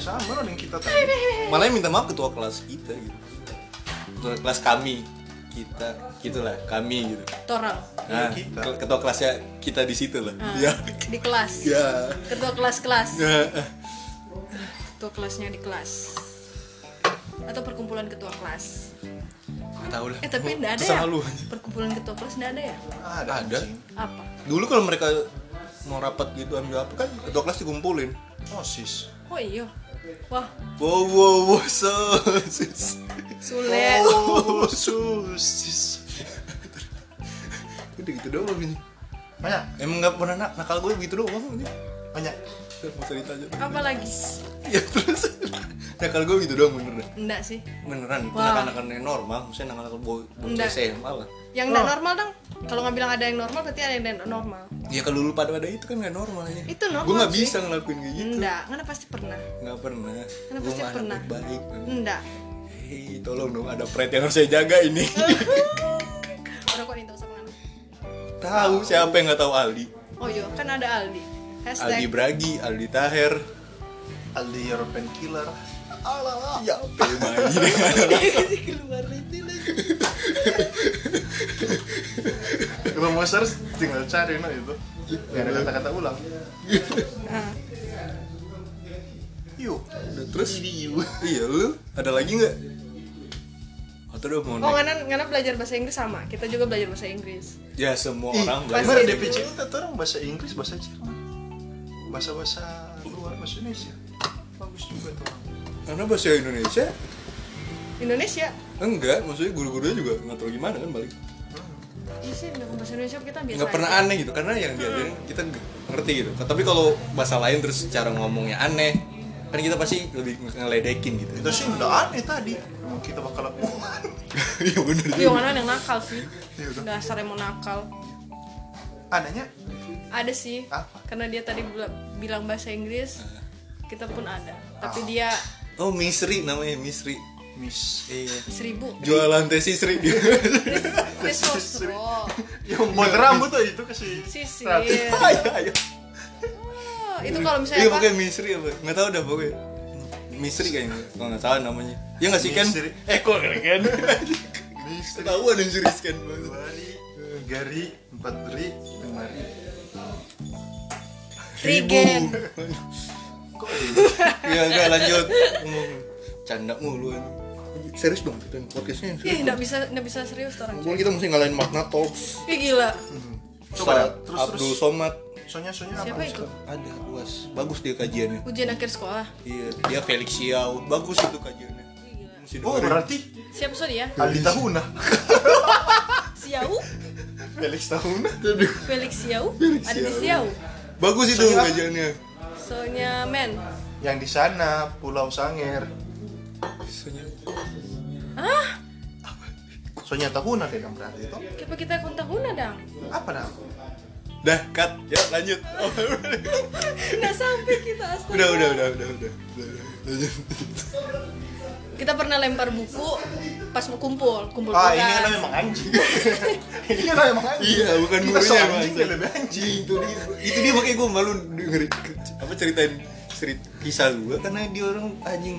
S3: sama orang yang
S1: Eh,
S3: kita
S1: eh,
S3: tadi
S1: eh.
S2: malah yang minta maaf ketua kelas kita gitu ketua kelas kami kita gitulah kami gitu
S1: torang
S2: nah
S3: kita.
S2: ke- ketua kelasnya kita di situ lah
S1: Ah,
S2: ya
S1: di kelas
S2: ya
S1: ketua kelas kelas
S2: Nah, eh.
S1: ketua kelasnya di kelas atau perkumpulan ketua kelas
S2: nggak tahu lah
S1: eh tapi
S2: Oh,
S1: enggak ada
S2: terserah
S1: ya
S2: lu.
S1: perkumpulan ketua kelas enggak ada ya
S3: ada,
S2: Ada.
S3: anjing.
S1: apa
S2: dulu kalau mereka mau rapat gitu ambil apa kan ketua kelas dikumpulin
S3: osis
S1: oh iya wah
S2: wow wow wow sosis
S1: sulit
S3: <laughs> oh sosis
S2: udah gitu doang ini
S3: banyak
S2: emang nggak pernah nak nakal gue gitu doang ini
S3: banyak
S2: mau cerita aja
S1: apa lagi
S2: ya terus <laughs> nakal gue gitu doang beneran
S1: enggak sih
S2: beneran
S1: Wah.
S2: nakal-nakal yang normal maksudnya nakal-nakal boy bocah
S1: Enggak.
S2: SMA lah
S1: yang enggak normal dong kalau nggak bilang ada yang normal berarti ada yang enggak normal
S2: ya kalau lu pada pada itu kan nggak normal ya
S1: Itu normal
S2: gue nggak
S1: sih.
S2: bisa ngelakuin kayak gitu
S1: enggak karena pasti pernah
S2: nggak pernah
S1: Karena
S2: Gua
S1: pasti
S2: mah anak
S1: pernah.
S2: baik <laughs>
S1: enggak
S2: hei tolong dong ada pret yang harus saya jaga
S1: <laughs>
S2: ini
S1: orang kok nintu sama anak
S2: tahu siapa yang nggak tahu Aldi
S1: oh iya kan ada Aldi
S2: Aldi
S1: hashtag
S2: Bragi Aldi Taher
S3: Aldi European Killer
S2: ya Pemai
S1: keluar itu lagi
S3: kalau mau search tinggal cari nah itu nggak ada kata-kata ulang
S1: Ah,
S3: yuk
S2: terus iya lu ada lagi nggak atau udah mau
S1: oh
S2: naik
S1: karena karena belajar bahasa Inggris sama kita juga belajar bahasa Inggris
S2: ya semua
S3: Ih, kan
S2: orang
S1: pasti-
S3: Mana
S2: belajar.
S3: DPC kita tuh orang bahasa Inggris, bahasa Jerman, bahasa bahasa luar bahasa Indonesia. Bagus juga tuh. orang.
S2: karena bahasa Indonesia
S1: Indonesia
S2: enggak maksudnya guru-gurunya juga nggak tahu gimana kan balik
S1: Iya sih, dengan bahasa Indonesia kita biasa
S2: nggak pernah
S1: aja.
S2: aneh gitu karena
S1: Hmm.
S2: yang diajarin kita nggak ngerti gitu tapi kalau bahasa lain terus cara ngomongnya aneh kan kita pasti lebih nge- ngeledekin gitu
S3: Kita sih udah aneh tadi. Emang kita bakal apa?
S2: <laughs>
S3: <laughs>
S2: iya bener
S1: Iya, mana yang nakal sih
S3: Iya, udah.
S1: Dasar yang mau nakal
S3: Adanya
S1: Ada sih
S3: Apa?
S1: Karena dia tadi bila- bilang bahasa Inggris
S2: Eh.
S1: Kita pun ada
S2: Ah.
S1: Tapi dia
S2: oh Misri namanya Misri
S3: Miss.
S2: iya <laughs>
S1: seribu
S2: jualan teh <laughs> Iya, Sri
S1: Dia sosro
S3: Yang buat rambut tuh itu kasih.
S1: Sisir
S3: Rapi.
S2: ayo ayo
S1: Oh, Itu kalau
S2: iya
S1: misalnya
S2: pokoknya
S1: apa?
S2: Misri apa nggak tahu dah pokoknya Misri kayaknya kalau nggak salah namanya ya nggak sih kan
S3: Misri.
S2: eh kok kan
S3: Miss.
S2: ketahuan anjir kan
S3: Lari, gari, empat ri, lima ri.
S1: Regen
S3: Kok ini?
S2: Iya, enggak lanjut. Ngomong canda mulu kan. Serius dong kita podcastnya.
S1: Ih, nggak bisa, nggak bisa serius tuh orang
S2: Ngomong kita mesti ngalahin Magna Talks.
S1: Ih, gila
S3: Coba,
S2: Ustaz
S3: terus,
S2: Abdul
S3: terus.
S2: Somad.
S3: Sonya sonya
S1: Siapa
S3: apa?
S1: itu?
S2: Ada luas. Bagus dia kajiannya.
S1: Ujian akhir sekolah
S2: Iya, dia Felix Xiao. Bagus itu kajiannya.
S1: Ih, gila
S2: Mesti
S3: Oh
S2: dengerin.
S3: berarti
S1: Siapa sorry ya?
S3: Aldi Tahuna,
S1: Siau?
S3: Felix Tahuna.
S1: Felix Siau?
S2: Felix
S1: Ada di
S2: Siau.
S1: Siau?
S2: Bagus itu
S3: Soalnya-
S2: kajiannya.
S1: Soalnya men
S3: Yang di sana Pulau Sanger.
S1: Hah?
S3: Sonya Tahuna deh yang berarti itu.
S1: Kenapa kita kontakuna dang?
S3: Apa nama?
S2: Dah, cut. Ya, lanjut. <laughs> Oh,
S1: Nggak sampai kita astaga.
S2: udah, udah, udah, udah, udah. Lanjut.
S1: Kita pernah lempar buku pas mau kumpul, kumpul
S3: Ah,
S1: kelas.
S3: ini kan emang <laughs> anjing. ini kan emang anjing.
S2: Iya, bukan
S3: Kita so
S2: gurunya
S3: anjing,
S2: anjing.
S3: dia lebih anjing.
S2: Itu dia, itu dia makanya gue malu dengerin apa ceritain cerit kisah gue karena dia orang anjing.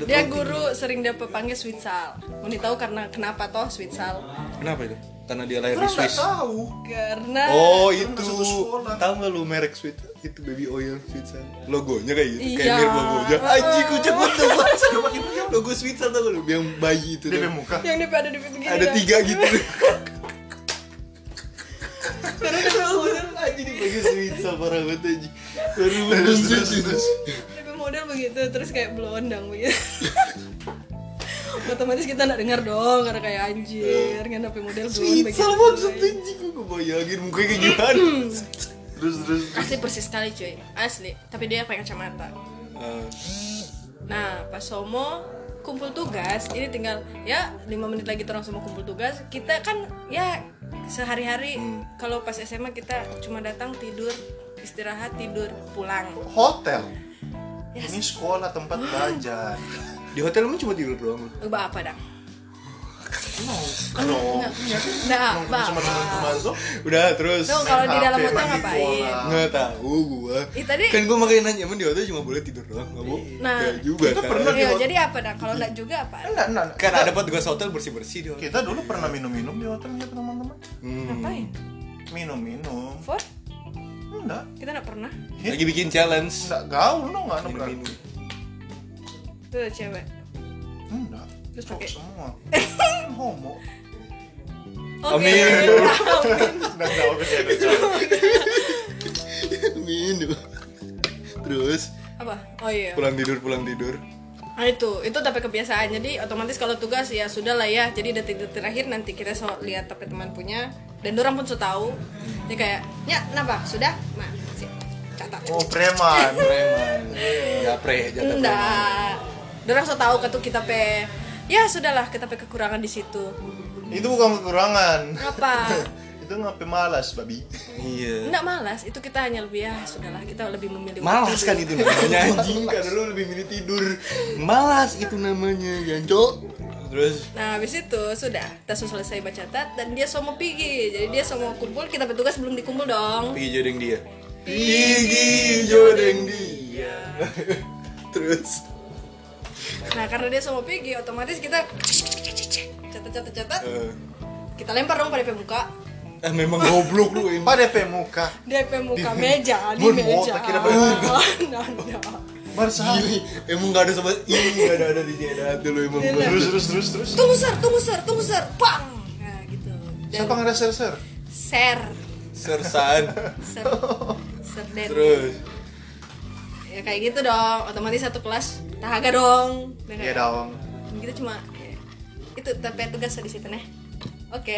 S2: Udah
S1: Dia
S2: tahu
S1: guru sering dia panggil sweet sal. Mau tahu karena kenapa toh sweet sal?
S2: tinggi. Kenapa itu? Karena dia lahir di
S3: Kurang
S2: Swiss.
S3: nggak tahu.
S1: Karena
S2: Oh
S3: Kurang
S2: itu,
S3: satu sekolah.
S2: tahu nggak lu merek Sweet itu baby oil Sweet Sun. Logonya kayak gitu, kayak
S1: Iya.
S2: mirip logonya. Anjing kucing gua tuh Logo Sweet Sun tau nggak lu yang bayi itu.
S3: DP
S2: tuh.
S3: muka.
S1: yang dia ada di pintu gini.
S2: Ada
S1: Dang.
S2: tiga gitu. <laughs> Karena kenapa anjing di baju Sweet Sun parah banget anjing. Baru baru
S3: terus,
S2: Sweet
S3: terus.
S2: Sun.
S1: Dia model begitu terus kayak blondang
S2: <laughs>
S1: begitu. Otomatis kita nggak dengar dong karena kayak anjir, kenapa model blond
S2: Sweet
S1: begitu.
S2: Sun maksud anjing gue bayangin mukanya kayak <clears throat> gimana.
S3: Terus terus.
S1: Asli persis sekali cuy, asli. Tapi dia pakai kacamata.
S2: Eh,
S1: Nah, pas Somo kumpul tugas, ini tinggal ya lima menit lagi terus Somo kumpul tugas. Kita kan ya sehari-hari
S3: Hmm.
S1: kalau pas SMA kita cuma datang tidur, istirahat, tidur, pulang.
S3: Hotel. Iya.
S1: Yes.
S3: Ini sekolah tempat belajar.
S2: Di hotel emang cuma tidur doang lu.
S1: Ubah apa dah?
S3: mau kalau
S1: Nggak
S3: nongkrong sama teman-teman tuh
S2: udah terus
S1: Tuh, kalau di
S3: main
S1: dalam
S3: HP,
S1: hutan
S3: main
S1: ngapain?
S3: bola.
S2: nggak tahu gua
S1: Ih, tadi
S2: kan gua makanya nanya emang di hotel cuma boleh tidur doang nggak boleh
S1: Nah,
S2: Nggak juga
S3: itu
S2: kan.
S3: pernah.
S1: Iya, jadi apa dah kalau enggak juga apa?
S3: enggak enggak
S2: kan ada petugas hotel bersih bersih dia
S3: kita dulu pernah minum-minum di hotel ya teman-teman
S2: hmm.
S1: Ngapain?
S3: minum-minum
S1: For?
S3: enggak
S1: Kita enggak pernah.
S2: lagi bikin challenge
S3: enggak gaul lo enggak enggak
S2: minum
S1: Itu ada cewek.
S3: enggak
S1: Terus
S3: cowok
S1: pakai-
S3: <laughs> semua homo
S1: Oke. <laughs>
S2: Amin.
S3: enggak enggak oke ada cowok
S2: minum terus
S1: apa? Oh iya.
S2: pulang tidur pulang tidur
S1: Nah itu, itu tapi kebiasaan. Jadi otomatis kalau tugas ya sudah lah ya. Jadi detik-detik terakhir nanti kita so lihat tapi teman punya dan orang pun so tahu. Jadi kayak, "Ya, kenapa? Sudah?" Nah, sip. catat.
S3: oh preman
S2: preman japre jatah preman
S1: Enggak. Dorang so tahu katu kita pe. Ya sudahlah kita pe kekurangan di situ.
S3: itu bukan kekurangan
S1: Apa?
S3: itu ngapain malas babi
S2: iya
S1: Enggak malas, itu kita hanya lebih ya sudahlah kita lebih memilih untuk
S2: malas
S1: tidur.
S2: kan itu namanya anjing karena lu lebih milih tidur malas itu namanya janco terus
S1: Nah, habis itu sudah, kita sudah selesai baca tat dan dia semua pergi. Jadi dia semua kumpul, kita bertugas belum dikumpul dong.
S2: pergi jodeng dia pergi jodeng dia <laughs> terus
S1: Nah, karena dia semua pergi, otomatis kita catat catat catat.
S2: eh,
S1: Kita lempar dong pada pemuka.
S2: ah, memang goblok lu ini
S3: pada pemuka
S1: Dia pemuka meja, di
S3: Mun, mau
S1: meja.
S3: tak
S1: <laughs>
S3: kira berapa?
S1: Nah, nah.
S3: bersahabat
S2: Gini, emang gak ada sobat ini gak ada ada di sini ada hati lu emang
S1: Iya,
S2: terus
S3: terus terus terus terus
S1: Tunggu ser, tunggu ser, tunggu ser, bang. Nah, gitu. Dan
S3: siapa nggak ada ser ser
S1: ser,
S2: sersan
S1: ser, ser dan
S2: terus
S1: ya kayak gitu dong. Otomatis satu kelas tahaga dong. Nah, kayak-
S3: ya dong
S1: kita cuma ya, itu tapi tugas di situ nih oke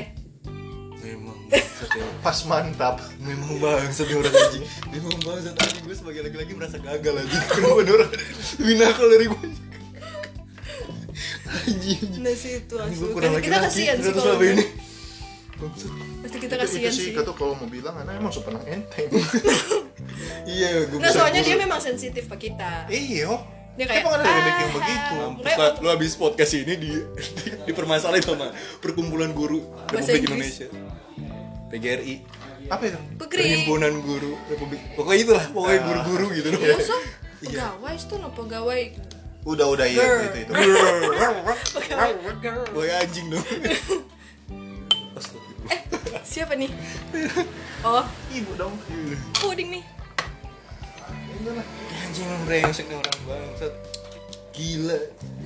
S2: memang bangsat ya.
S3: pas mantap
S2: memang bangsat nih orang anjing memang bangsat anjing gue sebagai laki-laki merasa gagal anjing kenapa ada orang lebih nakal dari gue anjing
S1: nah situ
S2: Ini
S1: asu
S2: gue kurang
S1: kita,
S2: lagi
S1: kita kasihan sih kalau
S2: selama ini
S1: pasti kita
S3: Itu-
S1: kasihan
S3: itu
S1: sih
S3: sih kata kalau mau bilang anak emang super nang enteng <laughs>
S2: iya gue
S1: nah soalnya dia memang sensitif ke kita
S3: iyo
S1: Dia kayak,
S3: Iya. emang ada bebek yang
S1: "Ah,
S3: begitu
S2: Mampus lah, lu habis podcast ini di, <laughs> di dipermasalahin sama perkumpulan guru
S1: Bahasa
S2: Republik Indonesia
S1: Inggris.
S2: PGRI
S3: apa itu
S1: pekri
S2: Perhimpunan Guru Republik pokoknya itulah pokoknya
S1: Ah.
S2: guru-guru gitu Iya. loh
S1: musuh pegawai itu no pegawai
S3: udah udah iya
S1: Grrr.
S3: itu itu
S1: pegawai girl
S2: <laughs> pokoknya anjing dong <laughs>
S1: eh siapa
S2: <laughs>
S1: nih oh
S3: <laughs> ibu dong
S1: puding nih
S3: Itulah.
S2: anjing brengsek nih orang bangsat gila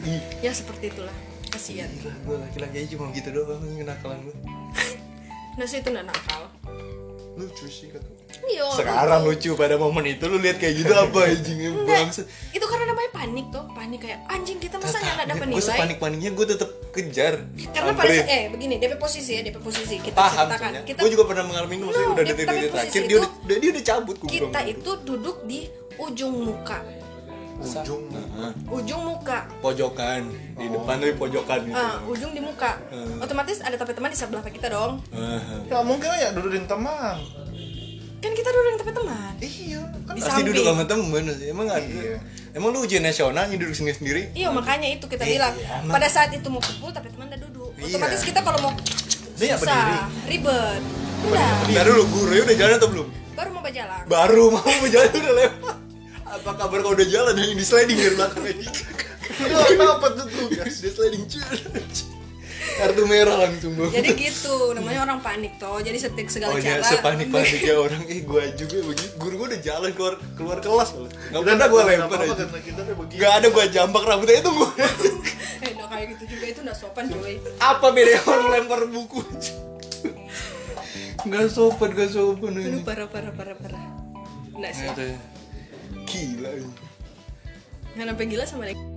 S2: ih
S1: ya seperti itulah kasihan
S2: gila gue laki-laki aja cuma gitu doang anjing kenakalan gue
S1: nah sih itu nggak nakal
S3: lucu sih kata
S1: Iya,
S2: sekarang lucu pada momen itu lu lihat kayak gitu apa anjingnya
S1: Enggak,
S2: bangsat
S1: Nah, itu karena namanya panik tuh panik kayak anjing kita masa nggak dapat
S2: gue
S1: nilai
S2: sepanik paniknya gue tetap kejar
S1: karena pada
S2: Samperin.
S1: saat- eh begini DP posisi ya DP posisi kita
S2: paham
S1: ceritakan
S2: sebenarnya.
S1: kita
S2: gue juga pernah mengalami itu maksudnya
S1: No,
S2: udah
S1: dia-
S2: detik
S1: tapi
S2: detik
S1: posisi
S2: terakhir
S1: itu-
S2: dia udah dia, dia udah cabut gitu. gue
S1: kita itu duduk di ujung muka
S3: ujung
S1: ujung muka
S2: pojokan di depan tapi pojokan gitu
S1: Oh. Ah, ujung di muka
S2: Hmm.
S1: otomatis ada teman-teman di sebelah kita dong
S2: Ah.
S3: ya mungkin aja dudukin teman
S1: kan kita duduk di teman-teman
S3: iya kan
S1: Di
S2: pasti duduk
S1: samping.
S2: sama temen sih. emang ada
S3: Iya.
S2: emang lu ujian nasional yang duduk sendiri sendiri
S1: iya makanya itu kita
S2: Iya,
S1: bilang
S2: emang.
S1: pada saat itu mau kumpul tapi teman udah duduk
S2: Iya.
S1: otomatis kita kalau mau
S3: Dia nggak
S1: susah ribet udah
S2: Bentar dulu gurunya udah jalan atau belum
S1: baru mau bajalan
S2: baru mau <laughs> jalan udah lewat apa kabar kalau udah jalan yang di sliding dari belakang aja
S3: apa tuh tugas
S2: di sliding cuy kartu merah langsung gue
S1: jadi gitu namanya orang panik tuh jadi setik segala
S2: Oh
S1: cara
S2: iya, sepanik-panik ya orang Eh gue juga begitu Guru gue udah jalan keluar, keluar kelas loh Gak
S3: Udah,
S2: pernah gue
S3: udah,
S2: lempar
S3: apa-apa,
S2: aja
S3: karena kita kayak begini.
S2: Gak ada gue jambak rambutnya itu gue
S1: <laughs> eh nah kayak gitu juga itu nggak sopan cuy
S2: <laughs> Apa bedanya orang lempar buku Gak sopan, gak sopan
S1: Aduh
S2: ini
S1: parah parah parah parah.
S2: Eh.
S1: Nggak sih.
S2: Gila ini
S1: Karena penggila sama lagi.